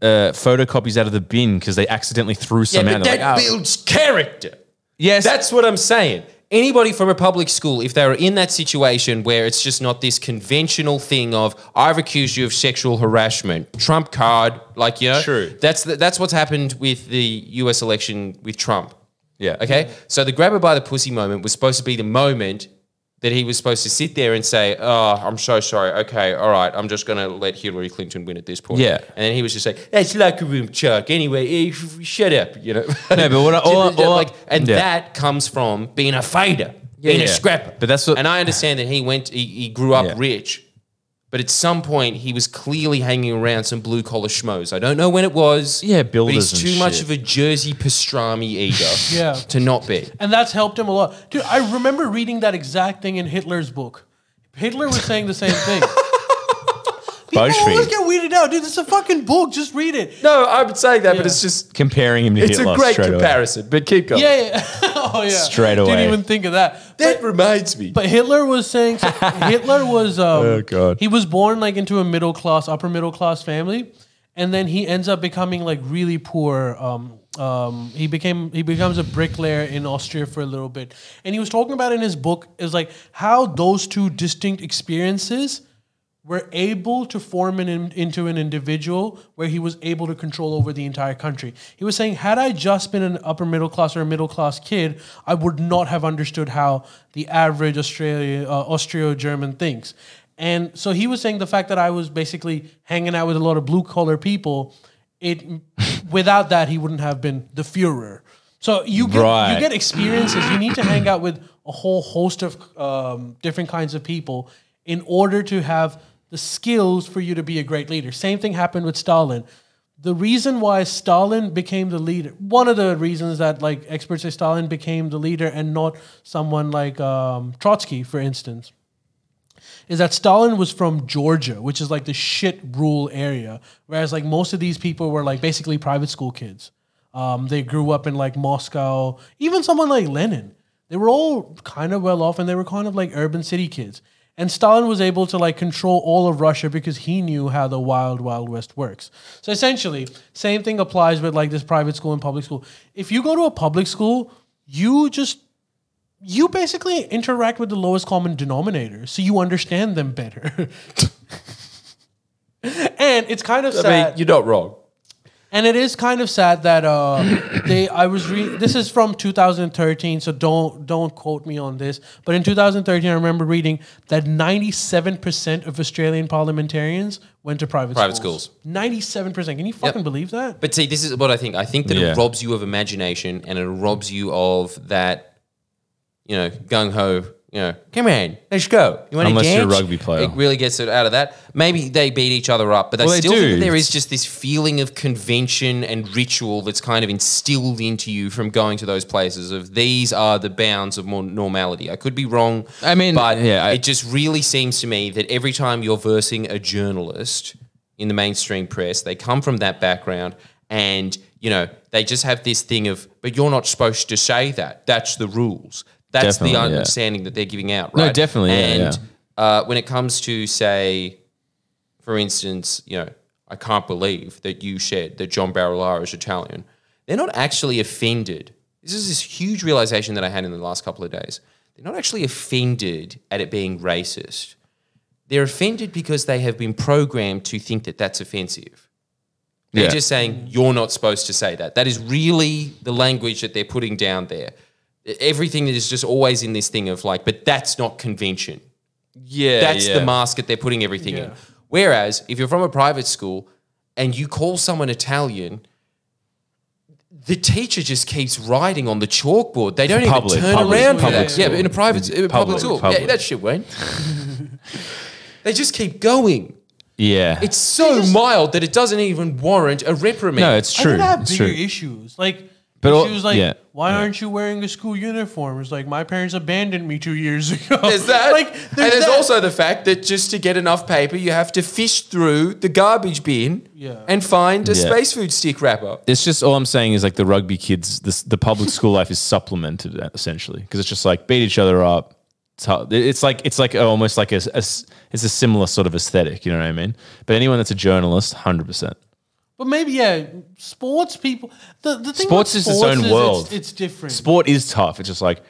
uh, photocopies out of the bin because they accidentally threw some
yeah,
out.
but
They're
that
like, "Ah,
builds character.
yes,
That's what I'm saying. Anybody from a public school, if they're in that situation where it's just not this conventional thing of I've accused you of sexual harassment, Trump card, like you know,
True.
That's the, that's what's happened with the U.S. election with Trump.
yeah,
Okay, so the grab her by the pussy moment was supposed to be the moment that he was supposed to sit there and say, "Oh, I'm so sorry. Okay, all right, I'm just gonna let Hillary Clinton win at this point."
Yeah.
and then he was just like, "That's locker room chuck." Anyway, eh, shut up. You know.
*laughs* No, but what
*laughs*
I- all I- all I-
like, and
yeah.
that comes from being a fighter, being
yeah.
a scrapper.
But that's what-
and I understand that he went, he, he grew up
Yeah.
rich. But at some point, he was clearly hanging around some blue collar schmoes. I don't know when it was.
Yeah,
But he's
builders and
too much
shit.
of a Jersey
*laughs*
pastrami eater
Yeah.
to not be.
and that's helped him a lot. Dude, I remember reading that exact thing in Hitler's book. Hitler was saying the same thing. *laughs* People always
BuzzFeed
get weeded out, dude. It's a fucking book. Just read it.
No, I'm saying that, but
Yeah.
it's just
comparing him to
it's
Hitler
a great
straight away.
comparison. But keep going.
Yeah, yeah. *laughs* oh yeah.
Straight away.
Didn't even think of that.
that reminds me.
But Hitler was
*laughs*
saying so Hitler was um,
Oh, God.
he was born like into a middle class, upper middle class family, and then he ends up becoming like really poor. Um, um, he became he becomes a bricklayer in Austria for a little bit, and he was talking about in his book is like how those two distinct experiences were able to form an in, into an individual where he was able to control over the entire country. He was saying, had I just been an upper middle class or a middle class kid, I would not have understood how the average Australia, uh, Austro-German thinks. And so he was saying the fact that I was basically hanging out with a lot of blue collar people, it *laughs* without that he wouldn't have been the Führer. So you get,
Right.
you get experiences. You need to hang out with a whole host of um, different kinds of people in order to have the skills for you to be a great leader. Same thing happened with Stalin. The reason why Stalin became the leader, one of the reasons that like experts say Stalin became the leader and not someone like um, Trotsky, for instance, is that Stalin was from Georgia, which is like the shit rural area, whereas like most of these people were like basically private school kids. Um, they grew up in like Moscow. Even someone like Lenin, they were all kind of well off, and they were kind of like urban city kids. And Stalin was able to like control all of Russia because he knew how the wild, wild west works. So essentially, same thing applies with like this private school and public school. If you go to a public school, you just you basically interact with the lowest common denominator, so you understand them better. *laughs* and it's kind of
I
sad.
uh,
mean, you're not wrong.
and it is kind of sad that uh, *coughs* they. I was re- this is from 2013, so don't don't quote me on this. But in 2013, I remember reading that 97 percent of Australian parliamentarians went to private
Private schools.
97 percent. Can you fucking believe that?
But see, this is what I think. I think that
Yeah.
it robs you of imagination and it robs you of that, you know, gung ho. You know, come on, let's go. You want
Unless
to
you're a
dance?
rugby player.
it really gets it out of that. Maybe they beat each other up, but I
Well, they
still think
do.
that there is just this feeling of convention and ritual that's kind of instilled into you from going to those places. Of these are the bounds of more normality. I could be wrong.
I mean,
but
yeah, I-
it just really seems to me that every time you're versing a journalist in the mainstream press, they come from that background and, you know, they just have this thing of, but you're not supposed to say that. That's the rules. That's the
Definitely, yeah.
understanding that they're giving out,
No,
right?
definitely, yeah,
And
yeah.
Uh, when it comes to, say, for instance, you know, I can't believe that you said that John Barilaro is Italian. They're not actually offended. This is this huge realization that I had in the last couple of days. They're not actually offended at it being racist. They're offended because they have been programmed to think that that's offensive. They're
Yeah.
just saying, you're not supposed to say that. That is really the language that they're putting down there. Everything is just always in this thing of like, but that's not convention.
Yeah,
That's
yeah.
the mask that they're putting everything in.
Yeah.
Whereas if you're from a private school and you call someone Italian, the teacher just keeps writing on the chalkboard. They don't
public-
even turn
public-
around for
public
that. Yeah, but in a private in a public,
Public-
school.
public.
Yeah, that shit, Wayne. *laughs* they just keep going.
Yeah.
It's so mild that it doesn't even warrant a reprimand.
no, it's true.
I think I have
It's
bigger
true.
issues. Like,
But all-
she was like,
yeah,
"Why aren't you wearing a school uniform?" It's like my parents abandoned me two years *laughs* ago.
There's that.
Like,
and
there's,
there's
that.
also the fact that just to get enough paper, you have to fish through the garbage bin
Yeah.
and find a
Yeah.
space food stick wrapper.
It's just all I'm saying is like the rugby kids, this, the
*laughs*
public school life is supplemented essentially because it's just like beat each other up. It's, how- it's like it's like almost like a, a s- it's a similar sort of aesthetic. You know what I mean? But anyone that's a journalist, hundred percent.
but maybe yeah, sports people. The the thing
Sports
with
is its
sports
own
is
world.
It's, it's different.
Sport is tough. It's just like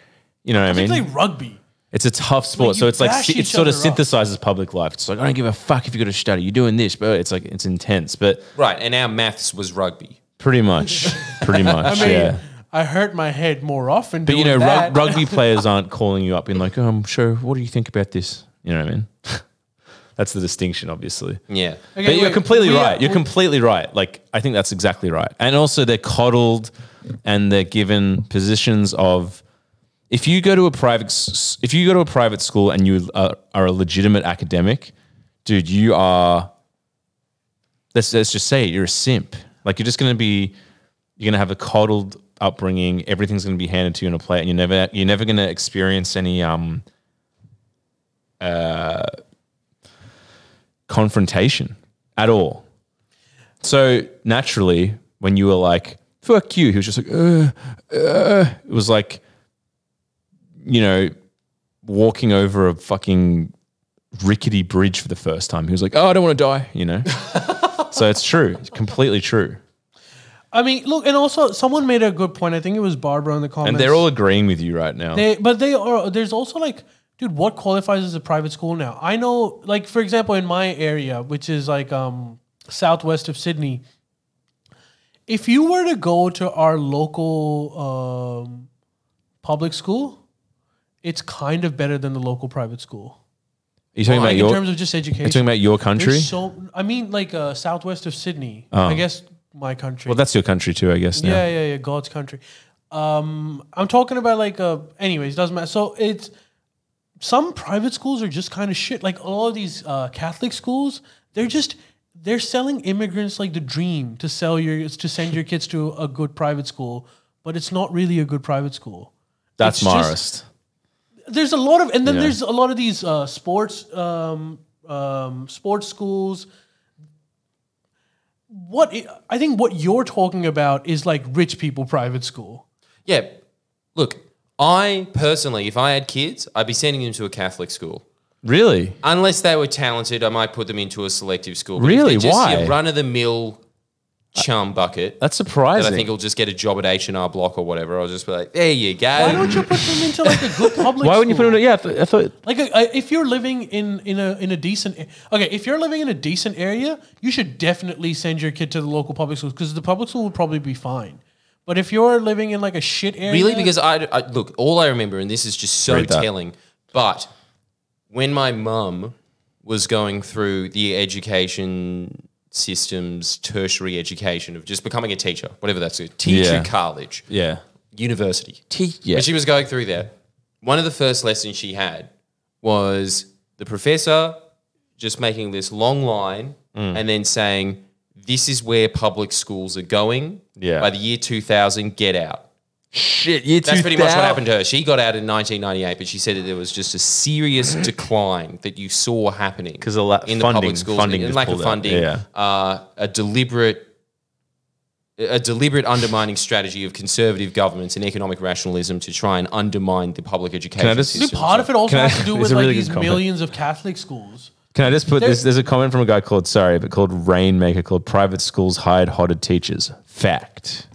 you know what I mean.
Particularly rugby.
It's a tough sport,
Like, you
so it's like
bash
si- it
each
sort of
other up.
synthesizes public life. It's like I don't give a fuck if you got to study. You're doing this, but it's like it's intense. But
Right, and our maths was rugby.
pretty much, pretty much,
*laughs* I mean,
yeah.
I hurt my head more often.
But you know,
doing
rug-
that. *laughs*
rugby players aren't calling you up being like, "Um, sure, what do you think about this?" You know what I mean? *laughs* that's the distinction, obviously.
Yeah.
Okay,
but you're
wait,
completely
we-
right. You're
we-
completely right. Like I think that's exactly right. And also they're coddled and they're given positions of if you go to a private s- if you go to a private school and you are, are a legitimate academic, dude, you are let's let's just say it, you're a simp. Like you're just going to be you're going to have a coddled upbringing. Everything's going to be handed to you in a plate and you're never you're never going to experience any um confrontation at all. So naturally, when you were like, fuck you, he was just like, uh, uh, it was like, you know, walking over a fucking rickety bridge for the first time. He was like, oh, I don't want to die, you
*laughs*
know? so it's true. It's completely true.
I mean, look, and also someone made a good point. I think it was Barbara in the comments.
And they're all agreeing with you right now.
They, but they are. There's also like dude, what qualifies as a private school now? I know, like for example, in my area, which is like um, southwest of Sydney, if you were to go to our local um, public school, it's kind of better than the local private school.
you talking
Like
about
in
your?
terms of just education,
you talking about your country?
There's So I mean, like uh, southwest of Sydney, I guess my country.
Oh. well, that's your country too, I guess. Now.
Yeah, yeah, yeah. God's country. Um, I'm talking about like uh anyways, doesn't matter. So it's some private schools are just kind of shit. Like all of these uh, Catholic schools, they're just they're selling immigrants like the dream to sell your to send your kids to a good private school, but it's not really a good private school.
that's
It's just-
Marist.
There's a lot of and then
Yeah.
there's a lot of these uh, sports um, um, sports schools. What I I think what you're talking about is like rich people private school.
Yeah. Look, I personally, if I had kids, I'd be sending them to a Catholic school.
Really?
Unless they were talented, I might put them into a selective school. But if
Really?
they're just
Why? Uh,
Your run of the mill chum bucket.
That's
that I
surprising.
think will just get a job at H and R Block or whatever. I'll just be like, there you go.
Why don't you put them into like
*laughs*
a good public?
Why wouldn't you put
school?
him? In, yeah, I, th- I thought.
Like, a, a, if you're living in in a in a decent a- okay, if you're living in a decent area, you should definitely send your kid to the local public schools because the public school will probably be fine. But if you're living in like a shit area,
Really? Because I, I- look, all I remember, and this is just so
Read that.
telling, but when my mum was going through the education system's tertiary education of just becoming a teacher, whatever that's a teacher
Yeah.
college,
Yeah.
university.
yeah.
When she was going through there, one of the first lessons she had was the professor just making this long line
Mm.
and then saying, This is where public schools are going.
Yeah.
By the year 2000, get out.
Shit. Year
That's pretty much what happened to her. She got out in 1998, but she said that there was just
*clears throat*
a serious decline that you saw happening
'Cause a la-
in the
funding-
public schools
funding
and
just
lack of
pulled out.
funding,
Yeah.
uh, a deliberate. A deliberate undermining strategy of conservative governments and economic rationalism to try and undermine the public education
just-
system.
part of it also
Can I-
has to
*laughs*
do
it's
with
a
like
really good
these
comment.
millions of Catholic schools.
Can I just put
There-
this? There's a comment from a guy called sorry, but called Rainmaker called private schools hired hotted teachers. Fact.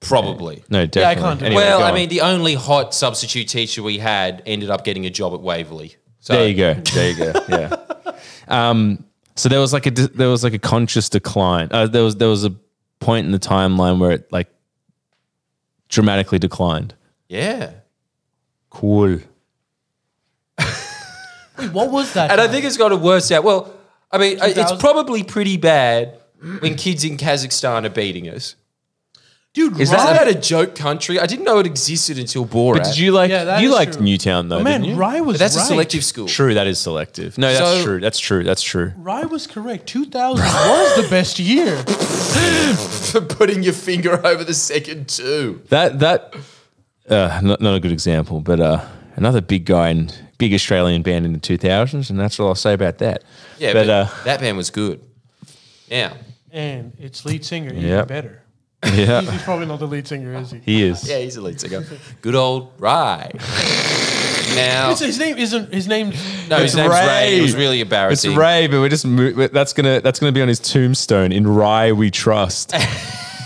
probably.
No, definitely.
can't do
Anyway,
well,
go
I
on.
mean, the only hot substitute teacher we had ended up getting a job at Waverley. So
There you go. There you go. Yeah. um,
*laughs*
so there was like a dis- there was like a conscious decline. Uh, there was there was a point in the timeline where it like dramatically declined.
yeah.
Cool.
Wait, what was that?
And I think it's got it worse out. Well, I mean, I- it's
2000?
probably pretty bad when kids in Kazakhstan are beating us.
dude,
Is
Isn't
Riot,
that a joke country? I didn't know it existed until Borat.
But did you like
Yeah, that
you
is
liked
true. Oh,
Newtown though? didn't
man,
you?
Rye was
But that's
right.
a selective school.
True, that is selective. No, that's
So-
true. That's true. That's true.
Rye was correct. 2000 was the best year.
*laughs* For putting your finger over the second two.
That that uh, not, not a good example, but uh, another big guy in big Australian band in the two thousands, and that's all I'll say about that.
Yeah,
but,
but,
uh, *laughs*
that band was good. Yeah.
And its lead singer even
Yep. Uh,
better.
yeah,
He's probably not the lead singer, is he?
he is.
Yeah, he's a lead singer. Good old Rye. now,
His name isn't his name.
no, his name's Ray. It was
Ray.
really
It's
embarrassing.
Ray, but we're just mo- we're- that's gonna that's gonna be on his tombstone in Rye We
*laughs*
Trust.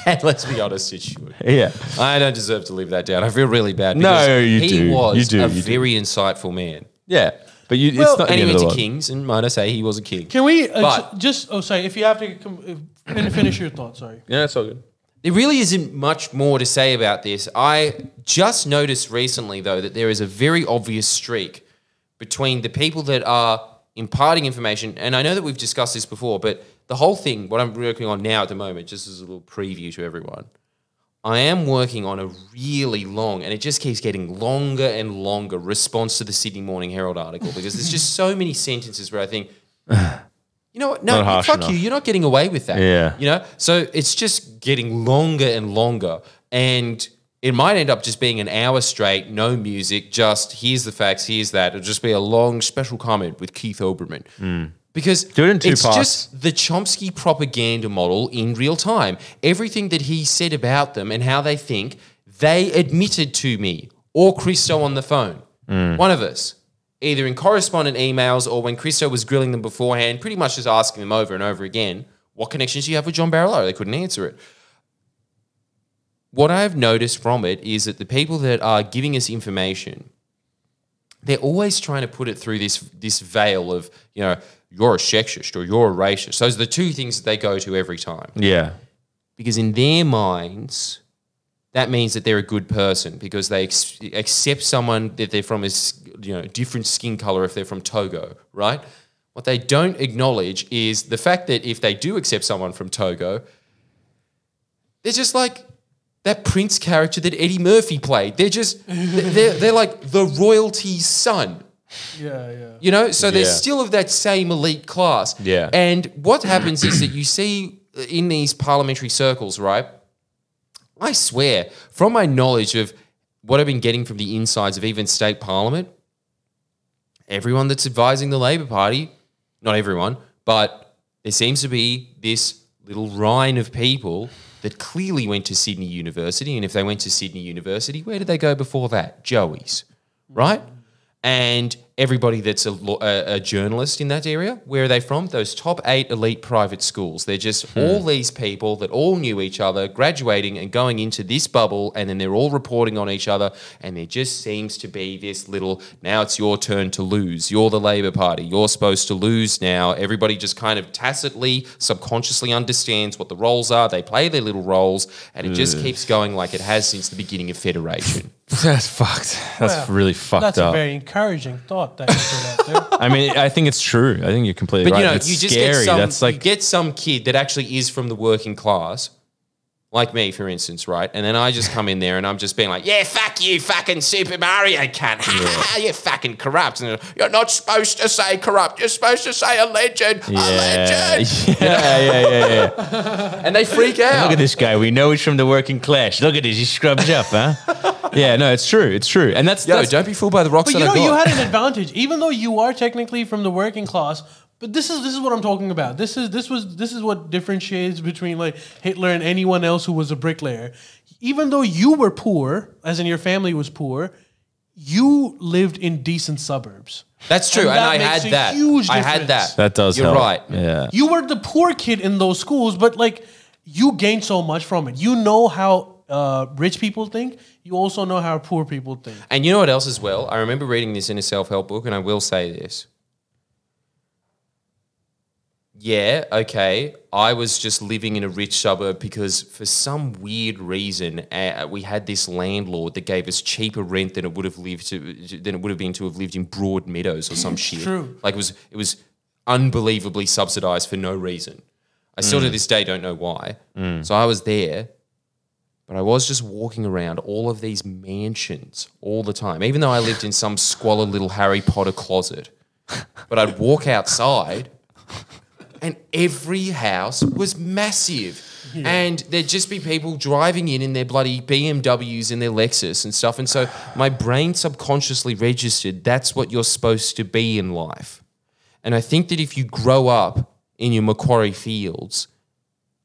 And *laughs* let's be honest, it should.
yeah,
I don't deserve to live that down. I feel really bad.
No,
because
you
he
do.
was
You do,
a
you do.
very insightful man.
yeah. But you, it's not
and
the
he
end
went
of the
to
world.
Kings, and might I say he was a king.
Can we uh,
But-
ju- just? Oh, sorry. If you have to com- uh, fin- finish your thought, sorry.
Yeah, that's all good.
There really isn't much more to say about this. I just noticed recently, though, that there is a very obvious streak between the people that are imparting information, and I know that we've discussed this before, but the whole thing, what I'm working on now at the moment, just as a little preview to everyone, I am working on a really long, and it just keeps getting longer and longer response to the Sydney Morning Herald article because there's just so many sentences where I think, *sighs* you know what? No,
Not harsh
fuck
enough.
you. You're not getting away with that.
Yeah.
You know? So it's just getting longer and longer. And it might end up just being an hour straight, no music, just here's the facts, here's that. It'll just be a long special comment with Keith Oberman. Because
Do it in two
it's
parts.
just the Chomsky propaganda model in real time. Everything that he said about them and how they think, they admitted to me or Christo on the phone.
Mm.
One of us, either in correspondent emails or when Christo was grilling them beforehand, pretty much just asking them over and over again, what connections do you have with John Barillaro? They couldn't answer it. What I've noticed from it is that the people that are giving us information they're always trying to put it through this this veil of you know you're a sexist or you're a racist. Those are the two things that they go to every time
Yeah.
because in their minds that means that they're a good person because they ex- accept someone that they're from a s- you know different skin color if they're from Togo, right? What they don't acknowledge is the fact that if they do accept someone from Togo, they're just like that Prince character that Eddie Murphy played. They're just they're, they're like the royalty's son.
Yeah, yeah.
You know, so they're
Yeah.
still of that same elite class.
Yeah.
And what *clears throat* happens is that you see in these parliamentary circles, right? I swear, from my knowledge of what I've been getting from the insides of even state parliament, everyone that's advising the Labour Party, not everyone, but there seems to be this little rhine of people that clearly went to Sydney University. And if they went to Sydney University, where did they go before that? Joey's, right? And everybody that's a, law- a, a journalist in that area, where are they from? Those top eight elite private schools. They're just all these people that all knew each other, graduating and going into this bubble, and then they're all reporting on each other. And there just seems to be this little now it's your turn to lose. You're the Labour Party. You're supposed to lose now. Everybody just kind of tacitly, subconsciously understands what the roles are. They play their little roles, and it just keeps going like it has since the beginning of Federation.
*laughs* That's fucked. That's
Wow.
really fucked
That's
up.
a very encouraging thought that you put out
*laughs*
there.
I mean, I think it's true. I think you're completely
But
right.
you know,
it's
you just
scary.
get some.
That's
you
like
get some kid that actually is from the working class, like me, for instance, right? And then I just come in there and I'm just being like, "Yeah, fuck you, fucking Super Mario cunt! you're fucking corrupt! And you're not supposed to say corrupt. You're supposed to say a legend, a
yeah, *laughs*
legend."
yeah, yeah, yeah, yeah.
And they freak out.
Look at this guy. We know he's from the working class. Look at this. He scrubs up, *laughs* huh? yeah, no, it's true. It's true. And that's,
Yo,
that's
don't be fooled by the rocks
But you
that
know,
I got.
you had an advantage, even though you are technically from the working class. But this is this is what I'm talking about. This is this was this is what differentiates between like Hitler and anyone else who was a bricklayer. Even though you were poor, as in your family was poor, you lived in decent suburbs.
That's true,
And
and,
that
I
makes
had
a
that.
huge
I had
difference.
that.
that does.
You're
help.
right.
Yeah.
You were the poor kid in those schools, but like you gained so much from it. You know how uh, rich people think. You also know how poor people think.
And you know what else as well? I remember reading this in a self help book, and I will say this. Yeah, okay. I was just living in a rich suburb because for some weird reason uh, we had this landlord that gave us cheaper rent than it would have lived to, than it would have been to have lived in Broad Meadows or some shit.
True.
Like it was it was unbelievably subsidized for no reason. I still to this day don't know why. So I was there but I was just walking around all of these mansions all the time, even though I lived in some squalid little Harry Potter closet. But I'd walk outside, and every house was massive. And there'd just be people driving in in their bloody BMWs and their Lexus and stuff. And so my brain subconsciously registered that's what you're supposed to be in life. And I think that if you grow up in your Macquarie fields,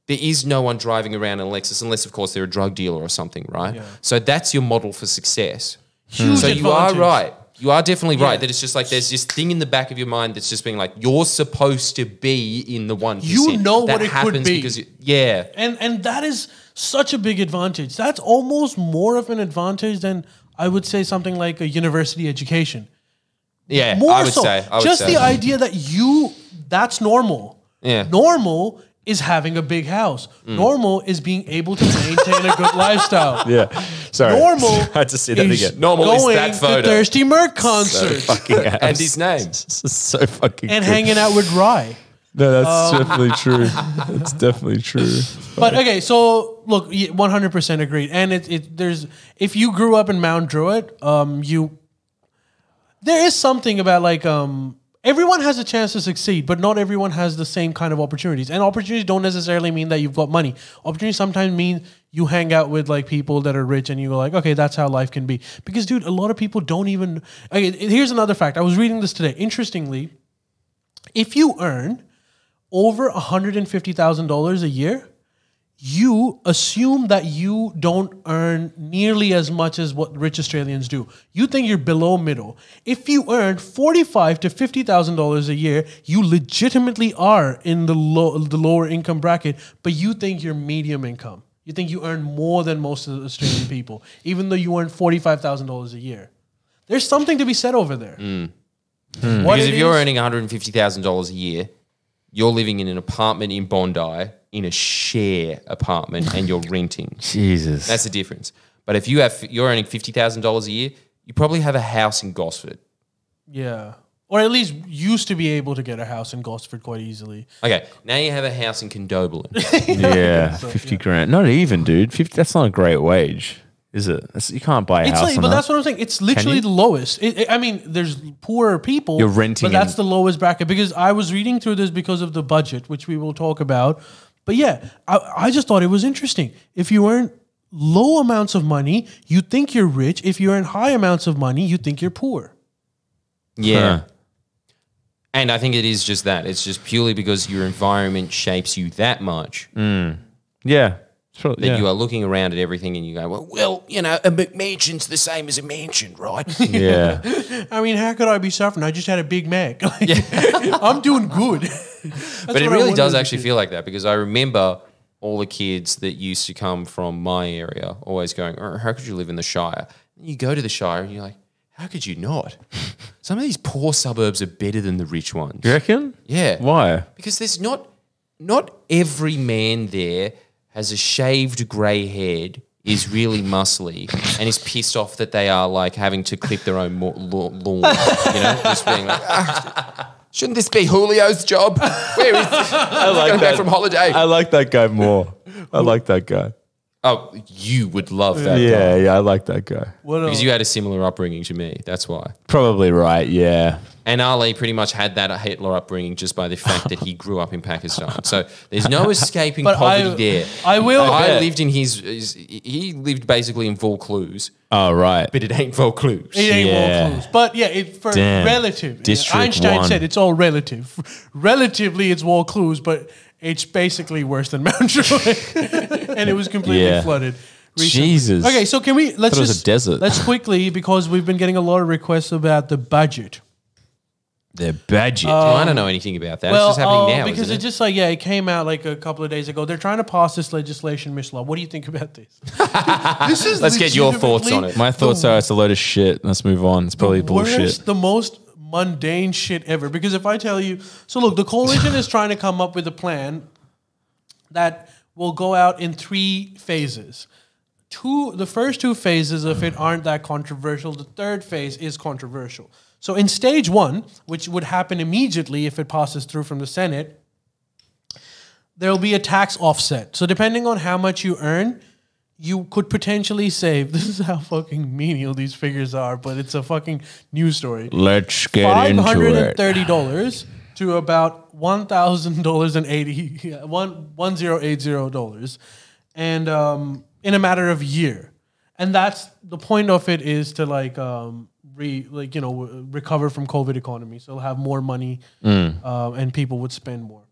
there is no one driving around in a Lexus unless, of course, they're a drug dealer or something, right? So that's your model for success.
Huge
Hmm. so you are
advantage.
right. You are definitely
Yeah.
right that it's just like there's this thing in the back of your mind that's just being like you're supposed to be in the one.
You know
that
what it could
happens
be.
because you- yeah,
and and that is such a big advantage. That's almost more of an advantage than I would say something like a university education.
yeah.
More
I would
so,
say. I would
just
say.
the idea that you that's normal.
Yeah. Hmm.
normal is having a big house. Normal is being able to maintain a good *laughs* lifestyle.
Yeah. Sorry. *laughs*
Normal.
I had to see that *laughs*
is
again.
Normal is
going
that photo.
to Thirsty Merc concerts
*laughs*
and his name.
This is so fucking.
and hanging out with Rye.
No, that's definitely true. That's definitely true.
But okay, so look, one hundred percent agreed. And it, it there's if you grew up in Mount Druitt, um, you there is something about like um everyone has a chance to succeed, but not everyone has the same kind of opportunities. And opportunities don't necessarily mean that you've got money. Opportunities sometimes mean you hang out with like people that are rich and you go like, okay, that's how life can be. Because dude, a lot of people don't even. Okay, here's another fact. I was reading this today. Interestingly, if you earn over $150,000 a year, you assume that you don't earn nearly as much as what rich Australians do. You think you're below middle. If you earn forty-five to fifty thousand dollars a year, you legitimately are in the low, the lower income bracket, but you think you're medium income. You
*laughs*
think you earn more than most of the Australian people, even though you earn forty-five thousand dollars a year. There's something to be said over there. What
Mm. Because
it
if you're
is-
earning one hundred and fifty thousand dollars a year, you're living in an apartment in Bondi in a share apartment, and
*laughs*
you're renting.
Jesus.
That's the difference. But if you have you're earning fifty thousand dollars a year, you probably have a house in Gosford.
yeah, or at least used to be able to get a house in Gosford quite easily.
Okay, now you have a house in Condobolin.
yeah, fifty grand. Not even, dude. 50, that's not a great wage, is it? That's, you can't buy a
It's
house.
like,
on
but
that.
that's what I'm saying. It's literally
you?
the lowest. It, it- I mean, there's poorer people.
You're renting
but that's
in-
the lowest bracket because I was reading through this because of the budget, which we will talk about. But yeah, I, I just thought it was interesting. If you earn low amounts of money, you think you're rich. If you earn high amounts of money, you think you're poor.
yeah.
Huh.
And I think it is just that. It's just purely because your environment shapes you that much
yeah. It's probably-
that
yeah.
you are looking around at everything and you go, well, well, you know, a McMansion's the same as a mansion, right?
*laughs* yeah.
I mean, how could I be suffering? I just had a Big Mac. *laughs* Like, I'm doing
*laughs*
good.
but it really does actually feel like that because I remember all the kids that used to come from my area always going, "Oh, "How could you live in the Shire?" And you go to the Shire and you're like, "How could you not?" Some of these poor suburbs are better than the rich ones.
You reckon?
Yeah.
Why?
Because there's not not every man there has a shaved grey head, is really muscly, and is pissed off that they are like having to clip their own mo- law- lawn. You know, just being like, "Ah, shouldn't this be Julio's job? Where is I
like that.
going back from holiday?
I like that guy more. I like that guy.
oh, you would love that. guy.
Yeah, yeah, I like that guy.
What
Because
else?
you had a similar upbringing to me. That's why.
Probably right. Yeah.
And Ali pretty much had that Hitler upbringing just by the fact that he grew up in Pakistan. So
*laughs*
there's no escaping
But I-
poverty there.
I will-
I,
Yeah.
lived in his, his. He lived basically in Vaucluse,
Oh, right.
but it ain't Vaucluse.
It ain't
Yeah.
all close. But yeah, it, for
Damn.
relative. yeah,
District
Einstein
one.
said it's all relative. Relatively, it's wall clues, but it's basically worse than *laughs* Mount Joy. and it was completely
Yeah.
flooded. recently.
Jesus.
Okay, so can we let's
Thought it was
just
a desert.
let's quickly because we've been getting a lot of requests about the budget.
They're budget.
Uh,
Well, I don't know anything about that.
Well,
it's just happening
oh,
now.
because
isn't
it?
it?
just like yeah, it came out like a couple of days ago. They're trying to pass this legislation, Miss Law. What do you think about
*laughs*
this? this is
Let's get your thoughts on
legitimately
it.
My thoughts are it's a load of shit. Let's move on. It's probably bullshit.
Worst, the most mundane shit ever. Because if I tell you, so look, the coalition is trying to come up with a plan that will go out in three phases. Two, the first two phases of it aren't that controversial. The third phase is controversial. So in stage one, which would happen immediately if it passes through from the Senate, there will be a tax offset. So depending on how much you earn, you could potentially save. *laughs* This is how fucking menial these figures are, but it's a fucking news story.
Let's get
Five hundred
into
and
it.
thirty dollars to about one thousand dollars and eighty *laughs* yeah, one one zero eight zero dollars, and um, in a matter of year, and that's the point of it is to like um, re like you know w- recover from COVID economy, so they'll have more money,
Mm.
um, and people would spend more.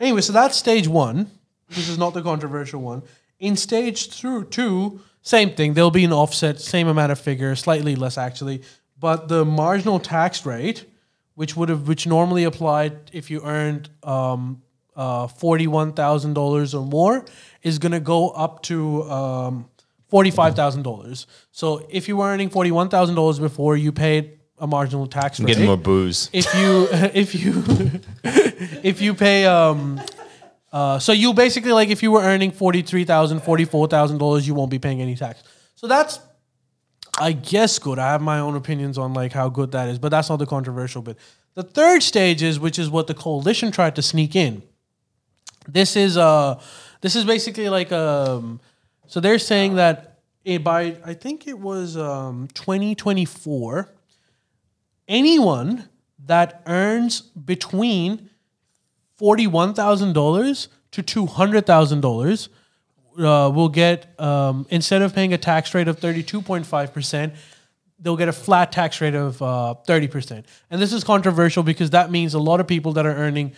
Anyway, so that's stage one. This is not the controversial one. In stage through two, same thing. There'll be an offset, same amount of figure, slightly less actually, but the marginal tax rate, which would have which normally applied if you earned um, uh, forty one thousand dollars or more, is going to go up to um, forty five thousand dollars. So if you were earning forty one thousand dollars before, you paid a marginal tax rate
Getting more booze.
if you *laughs* if you *laughs* if you pay um uh, so you basically like if you were earning forty three thousand forty four thousand dollars you won't be paying any tax so that's I guess good I have my own opinions on like how good that is but that's not the controversial bit the third stage is which is what the coalition tried to sneak in this is uh this is basically like um so they're saying that it, by I think it was um 2024 anyone that earns between forty-one thousand dollars to two hundred thousand dollars uh, will get um, instead of paying a tax rate of thirty-two point five percent, they'll get a flat tax rate of uh, thirty percent. And this is controversial because that means a lot of people that are earning.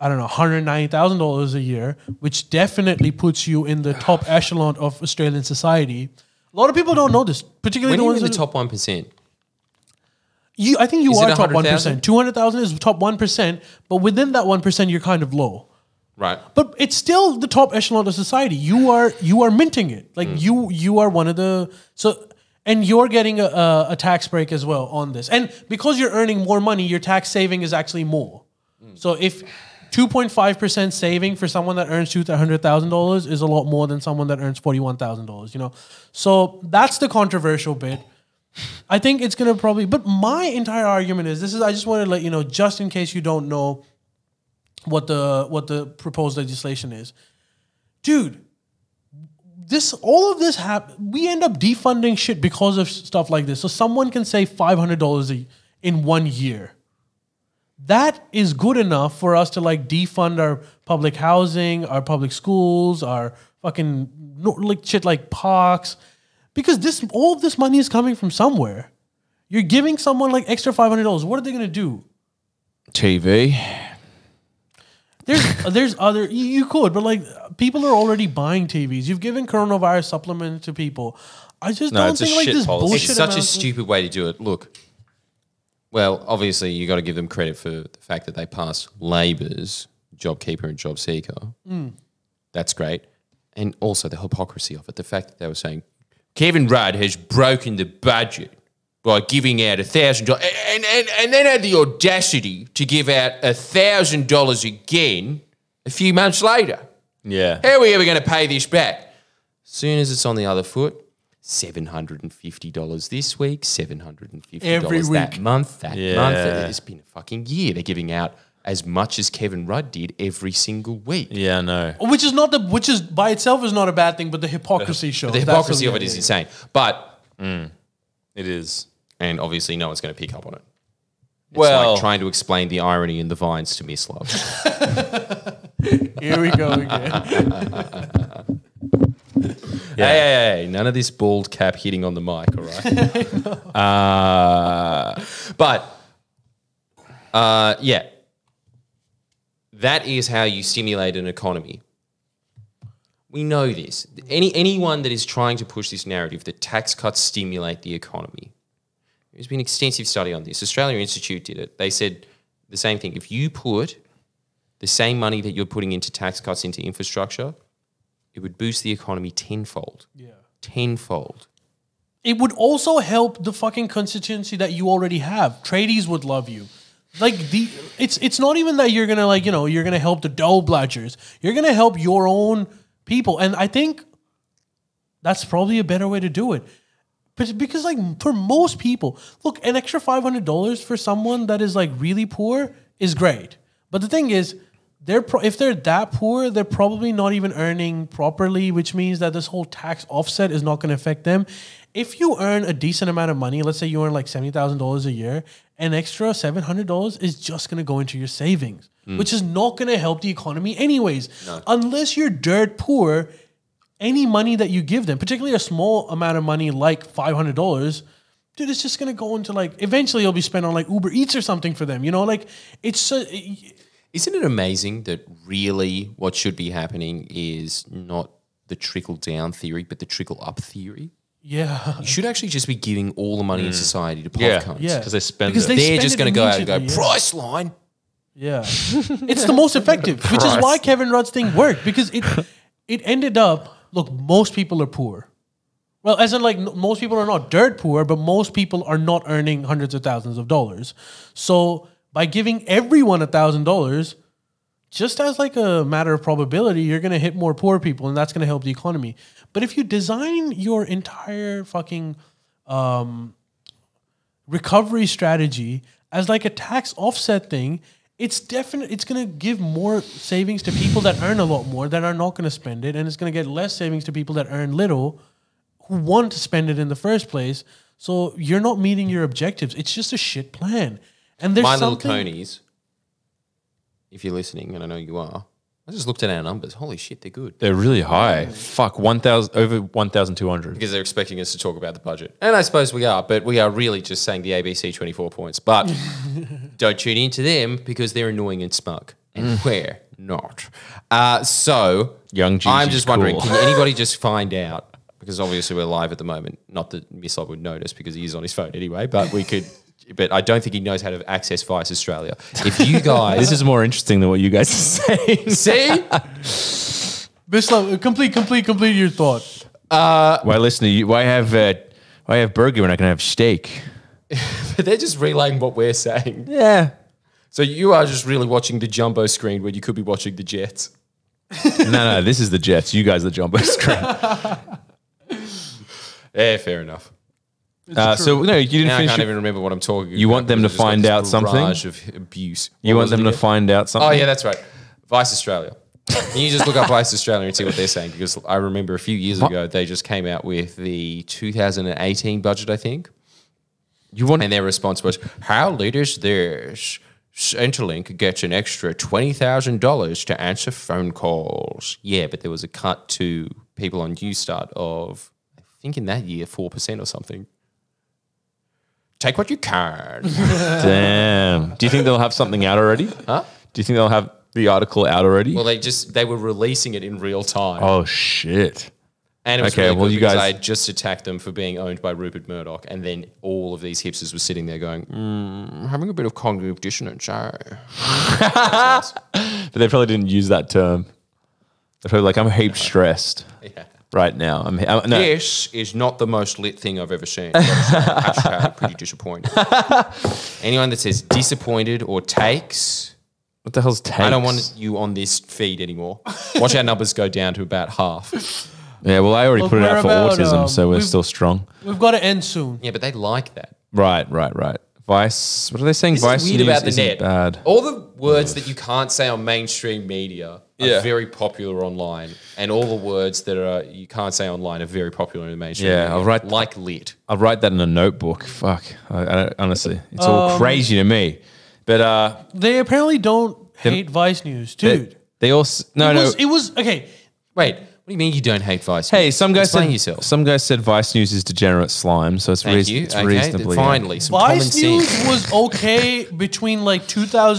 I don't know, hundred ninety thousand dollars a year, which definitely puts you in the top echelon of Australian society. A lot of people don't know this, particularly
when
the
you're
ones
in the
that-
top one percent,
you, I think you
Is
are
it
top one
100,000?
percent. Two hundred thousand is top one percent, but within that one percent, you're kind of low.
right?
But it's still the top echelon of society. You are you are minting it. Like you you are one of the so. And you're getting a, a, a tax break as well on this. And because you're earning more money, your tax saving is actually more. So if 2.5% saving for someone that earns $200,000 is a lot more than someone that earns $41,000, you know? So that's the controversial bit. I think it's going to probably, but my entire argument is this is, I just want to let you know, just in case you don't know what the, what the proposed legislation is. Dude, this all of this hap- we end up defunding shit because of stuff like this so someone can save $500 a, in one year that is good enough for us to like defund our public housing our public schools our fucking no- like shit like parks because this all of this money is coming from somewhere you're giving someone like extra $500 what are they going to do
TV.
there's uh, there's other you, you could, but like people are already buying TVs. You've given coronavirus supplements to people. I just
No,
don't
it's a
think like
shit
this
policy.
It's
bullshit.
such a
amounts to-
stupid way to do it. Look, well, obviously you got to give them credit for the fact that they passed Labor's JobKeeper and JobSeeker. That's great, and also the hypocrisy of it. The fact that they were saying Kevin Rudd has broken the budget by giving out a thousand dollars, and and and then had the audacity to give out a thousand dollars again a few months later.
Yeah.
How are we ever going to pay this back? Soon as it's on the other foot, seven hundred and fifty dollars this week, seven hundred and fifty
Every
dollars that
week.
month, that month.
Yeah.
It's been a fucking year. They're giving out as much as Kevin Rudd did every single week.
Yeah, no.
which is not the which is by itself is not a bad thing, but the hypocrisy shows.
The
That's
hypocrisy
what-
of it is insane. But mm,
It is.
and obviously, no one's going to pick up on it. It's
Well,
like trying to explain the irony in the vines to Miss Love.
Here we go
*laughs*
again.
Hey, hey, hey, none of this bald cap hitting on the mic, all right? uh, but uh, yeah, that is how you stimulate an economy. We know this. Any anyone that is trying to push this narrative that tax cuts stimulate the economy, there's been extensive study on this. Australia Institute did it. They said the same thing. If you put the same money that you're putting into tax cuts into infrastructure, it would boost the economy tenfold. Yeah. Tenfold.
It would also help the fucking constituency that you already have. Tradies would love you. Like the it's it's not even that you're gonna like, you know, you're gonna help the dough bludgers. You're gonna help your own people. And I think that's probably a better way to do it. But because like for most people, look, an extra five hundred dollars for someone that is like really poor is great. But the thing is, they're pro- if they're that poor, they're probably not even earning properly, which means that this whole tax offset is not going to affect them. If you earn a decent amount of money, let's say you earn like seventy thousand dollars a year, an extra seven hundred dollars is just going to go into your savings, which is not going to help the economy anyways, unless you're dirt poor any money that you give them, particularly a small amount of money like five hundred dollars, dude, it's just gonna go into like eventually it'll be spent on like Uber Eats or something for them. You know, like it's so,
Isn't it amazing that really what should be happening is not the trickle down theory, but the trickle up theory?
yeah,
*laughs* You should actually just be giving all the money in society to poor
Mm. Yeah.
cunts.
yeah,
'Cause they spend it.
They're just
spend it
going to go out and go,
immediately, yeah.
price line.
Yeah. it's the most effective, which is why Kevin Rudd's thing worked because it it ended up look, most people are poor. Well, as in like n- most people are not dirt poor, but most people are not earning hundreds of thousands of dollars. So by giving everyone a thousand dollars, just as like a matter of probability, you're gonna hit more poor people, and that's gonna help the economy. But if you design your entire fucking um, recovery strategy as like a tax offset thing, it's definitely it's going to give more savings to people that earn a lot more that are not going to spend it, and it's going to get less savings to people that earn little who want to spend it in the first place. So you're not meeting your objectives. It's just a shit plan. And there's
My Little
something,
Ponies, if you're listening, and I know you are, I just looked at our numbers. Holy shit, they're good.
They're really high. Fuck, 1,000, over 1,200.
Because they're expecting us to talk about the budget. And I suppose we are, but we are really just saying the ABC 24
*laughs*
points. But don't tune into them because they're annoying and smug. And we're not. Uh, so
Mm. Young
I'm
Jeezy's
just wondering,
cool.
can anybody
*laughs*
just find out? Because obviously we're live at the moment. Not that Missile would notice because he is on his phone anyway, but
*laughs*
we could but I don't think he knows how to access Vice Australia.
*laughs*
If you guys
This is more interesting than what you guys *laughs* are saying. *laughs*
*laughs*
see
Bislav, complete, complete, complete your thought.
why listen to you? Why have uh, I have burger when I can have steak.
But they're just relaying what we're saying.
Yeah.
So you are just really watching the jumbo screen when you could be watching the Jets.
no, no, this is the Jets. You guys are the jumbo screen.
*laughs* Yeah, fair enough.
Uh, so no, you didn't
Now I
finish.
can't
your-
even remember what I'm talking about.
You want them
because
to
I just got
find
this
out
barrage of abuse.
you
What
want
was it
them to
again?
find out something.
Oh yeah, that's right. Vice Australia. Can you just look up Vice Australia and see what they're saying? Because I remember a few years ago they just came out with the 2018 budget, I think,
you want
and their response was
How leaders there s- Centrelink gets an extra twenty thousand dollars to answer phone calls. Yeah, but there was a cut to people on Newstart of I think in that year four percent or something. Take what you
*laughs*
can.
Damn. Do you think they'll have something out already? Huh? Do you think they'll have the article out already?
well, they just they were releasing it in real time,
oh shit.
and it was
okay,
really
well,
good
you
because
guys-
I had just attacked them for being owned by Rupert Murdoch, and then all of these hipsters were sitting there going, mm,
I'm "Hmm, having a bit of cognitive dissonance. eh? *laughs*
But they probably didn't use that term. They're probably like, I'm heap stressed right now. I'm, I'm no.
This is not the most lit thing I've ever seen. uh, Hashtag
*laughs*
pretty disappointed. Anyone that says disappointed or takes,
What the hell's takes?
I don't want you on this feed anymore.
"Watch our numbers go down to about half."
Yeah, well, I already
Look,
put it
we're
out for
about,
autism,
um,
so we're
we've-
still strong.
We've got to end soon.
Yeah, but they like that.
Right, right, right. Vice. What are they saying?
This
Vice
is weird
news
about the
isn't
net.
bad.
All the words that you can't say on mainstream media are
Yeah.
very popular online, and all the words that are you can't say online are very popular in the mainstream.
Yeah,
media,
I'll write-
like lit.
I'll write that in a notebook. Fuck. I, I don't, honestly, it's all crazy to me. But uh,
They apparently don't hate Vice News, dude.
they, they also no
it,
no.
was, it was okay.
Wait, what do you mean you don't hate Vice?
Hey,
News?
some guy
Explain
said
yourself.
some guy said Vice News is degenerate slime, so it's,
Thank
reas-
you.
it's
okay, th-
reasonably.
finally, some
Vice
common
News
sense.
was okay between like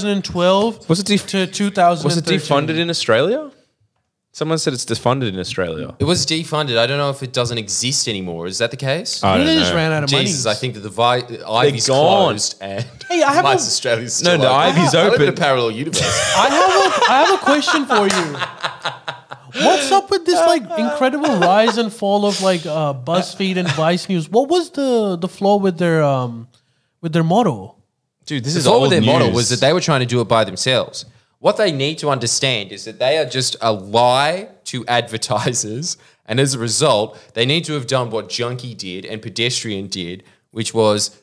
2012
Was it def-
to 2013.
Was it defunded in Australia? Someone said it's defunded in Australia.
It was defunded. I don't know if it doesn't exist anymore. Is that the case?
I
Maybe
don't
they just
know.
ran out of
Jesus,
money.
I think that the vi- Ivy's
gone.
closed and
Hey, I have
Vice
a-
Australia's
No,
still
the
open.
Ivy's
I live in a
open.
parallel universe.
I have a,
*laughs*
I have a question for you. What's up with this like incredible rise and fall of like uh, BuzzFeed and Vice News? What was the the flaw with their um with their motto?
Dude, this is
old
all their model
news.
was that they were trying to do it by themselves. What they need to understand is that they are just a lie to advertisers, and as a result, they need to have done what Junkie did and Pedestrian did, which was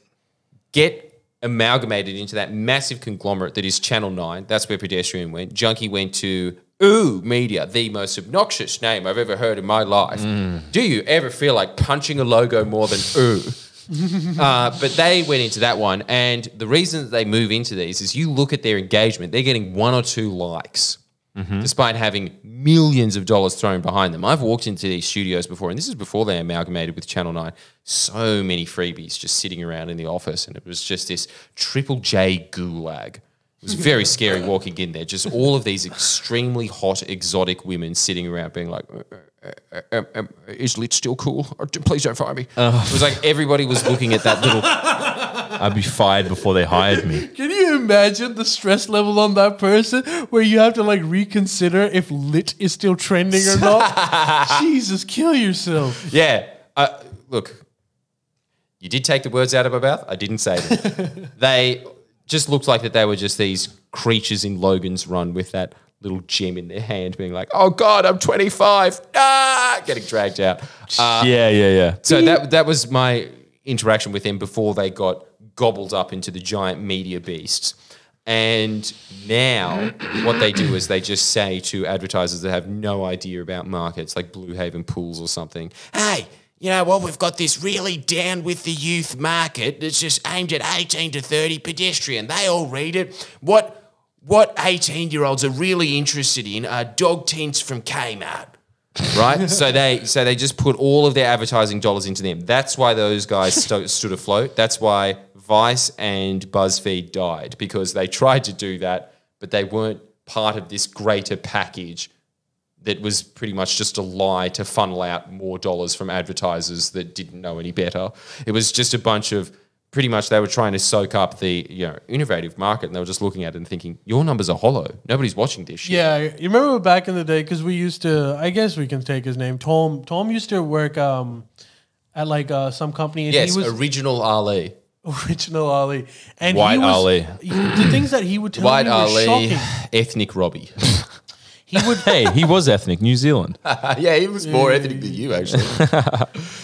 get amalgamated into that massive conglomerate that is Channel 9. That's where Pedestrian went. Junkie went to Ooh Media, the most obnoxious name I've ever heard in my life.
Mm.
Do you ever feel like punching a logo more than Ooh? uh, but they went into that one, and the reason that they move into these is you look at their engagement; they're getting one or two likes, despite having millions of dollars thrown behind them. I've walked into these studios before, and this is before they amalgamated with Channel Nine. So many freebies just sitting around in the office, and it was just this triple J gulag. It was very scary walking in there. Just all of these extremely hot, exotic women sitting around, being like, "Uh, um, um, is lit still cool? Or d- Please don't fire me. It was like everybody was looking at that little.
I'd be fired before they hired me.
Can you imagine the stress level on that person where you have to like reconsider if lit is still trending or
*laughs*
not? Jesus, kill yourself.
yeah. Uh, look, you did take the words out of my mouth. I didn't say them. they just looked like that they were just these creatures in Logan's Run with that little gem in their hand, being like, "Oh God, I'm 25." Ah, getting dragged out.
yeah, yeah, yeah.
So that that was my interaction with them before they got gobbled up into the giant media beasts. And now what they do is they just say to advertisers that have no idea about markets, like Blue Haven Pools or something, hey, you know what, we've got this really down with the youth market that's just aimed at 18 to 30 pedestrian. They all read it. What what 18 year olds are really interested in are dog tents from Kmart right? so they so they just put all of their advertising dollars into them. That's why those guys sto- stood afloat. That's why Vice and BuzzFeed died because they tried to do that, but they weren't part of this greater package that was pretty much just a lie to funnel out more dollars from advertisers that didn't know any better. It was just a bunch of pretty much they were trying to soak up the you know innovative market and they were just looking at it and thinking your numbers are hollow nobody's watching this shit
Yeah, you remember back in the day because we used to. I guess we can take his name. Tom. Tom used to work um, at like uh, some company. And
Yes,
he was
original Ali.
*laughs* original Ali. And
White
he was,
Ali.
he- the things that he would tell
White
me were
Ali,
shocking.
*laughs* ethnic Robbie.
He
*laughs*
would
Hey, he was ethnic, New Zealand.
yeah, he was more ethnic than you, actually.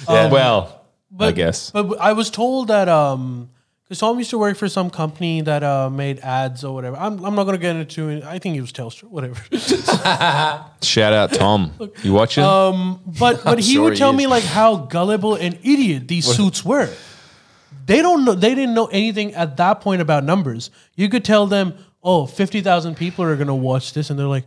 well,
but,
I guess.
But I was told that um, because Tom used to work for some company that uh, made ads or whatever. I'm, I'm not gonna get into it. I think he was Telstra, whatever. *laughs*
Shout out Tom. You watching?
But but he
sure
would
he
tell me
is.
like how gullible and idiot these suits were. They don't know. They didn't know anything at that point about numbers. You could tell them, oh, 50,000 people are gonna watch this, and they're like,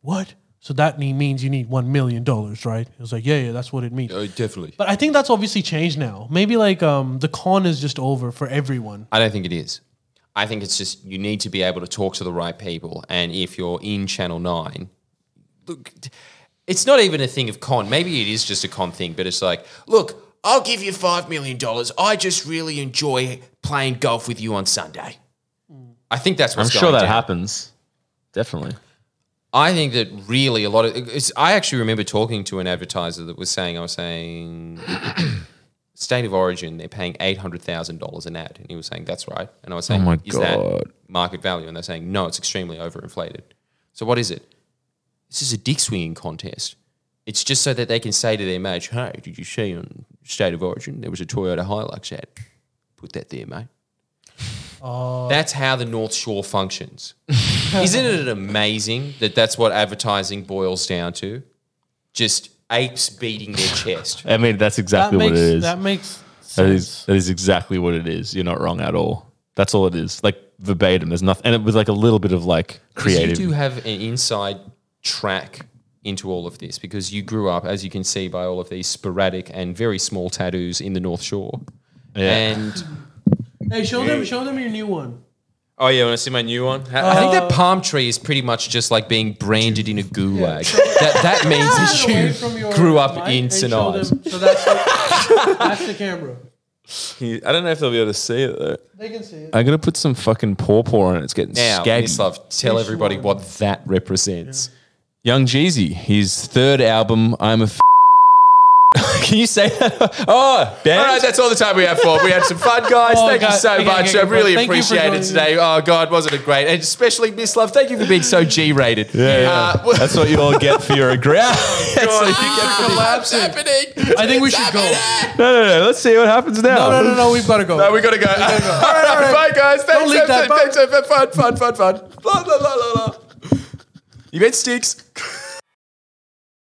what? So that ne- means you need one million dollars, right? It was like, yeah, yeah, that's what it means.
*laughs* Oh, definitely.
But I think that's obviously changed now. Maybe like um, the con is just over for everyone.
I don't think it is. I think it's just you need to be able to talk to the right people. And if you're in Channel 9, look, it's not even a thing of con. Maybe it is just a con thing, but it's like, look, I'll give you $5 million. I just really enjoy playing golf with you on Sunday. I think that's
I'm
what's
sure
going
that
down.
happens. Definitely.
I think that really a lot of it's, I actually remember talking to an advertiser that was saying I was saying *coughs* state of origin they're paying eight hundred thousand dollars an ad and he was saying that's right and I was saying
Oh my
is that
God.
market value and they're saying no it's extremely overinflated so what is it this is a dick swinging contest it's just so that they can say to their mate hey did you see on state of origin there was a Toyota Hilux ad put that there mate that's how the North Shore functions. Isn't it amazing that that's what advertising boils down to? Just apes beating their chest.
I mean, that's
That
exactly
makes
what it is.
that makes
That
sense.
is that is exactly what it is. You're not wrong at all. That's all it is. Like verbatim. There's nothing, and it was like a little bit of like
You
creative.
do have an inside track into all of this because you grew up, as you can see by all of these sporadic and very small tattoos in the North Shore. And
Hey, show them show them your new one.
Oh yeah, when I see my new one, Ha-
I think that palm tree is pretty much just like being branded in a gulag. that, that means
Away
that
from your
you grew up
mic
in
and show
Sinai.
them- So that's the, *laughs* that's the camera.
I don't know if they'll be able to see it though.
They can see it.
I'm gonna put some fucking paw paw on it. It's getting
Now,
scaggy.
Mislav, tell everybody what that represents.
Young Jeezy, his third album. I'm a. F- *laughs* Can you say that? *laughs* Oh,
All right,
band.
that's all the time we have for. We had some fun, guys.
*laughs* Oh,
thank you
okay,
so
okay,
much.
okay,
I really
thank you for
appreciate
joining
it today. Oh God, wasn't it great? And especially Miss Love, thank you for being so G-rated.
Yeah, yeah.
Uh, *laughs*
that's what you all get for your aggression.
God, you get-
Collapse happening.
I think we should go.
*laughs* no, no, no. Let's see what happens now.
No, no, no, we've got to go.
No, we gotta go. *laughs* all right, all right, bye guys. Thanks,
leave that.
Thanks, thanks, thanks, fun, fun, fun, fun. La la la la la. You meant sticks.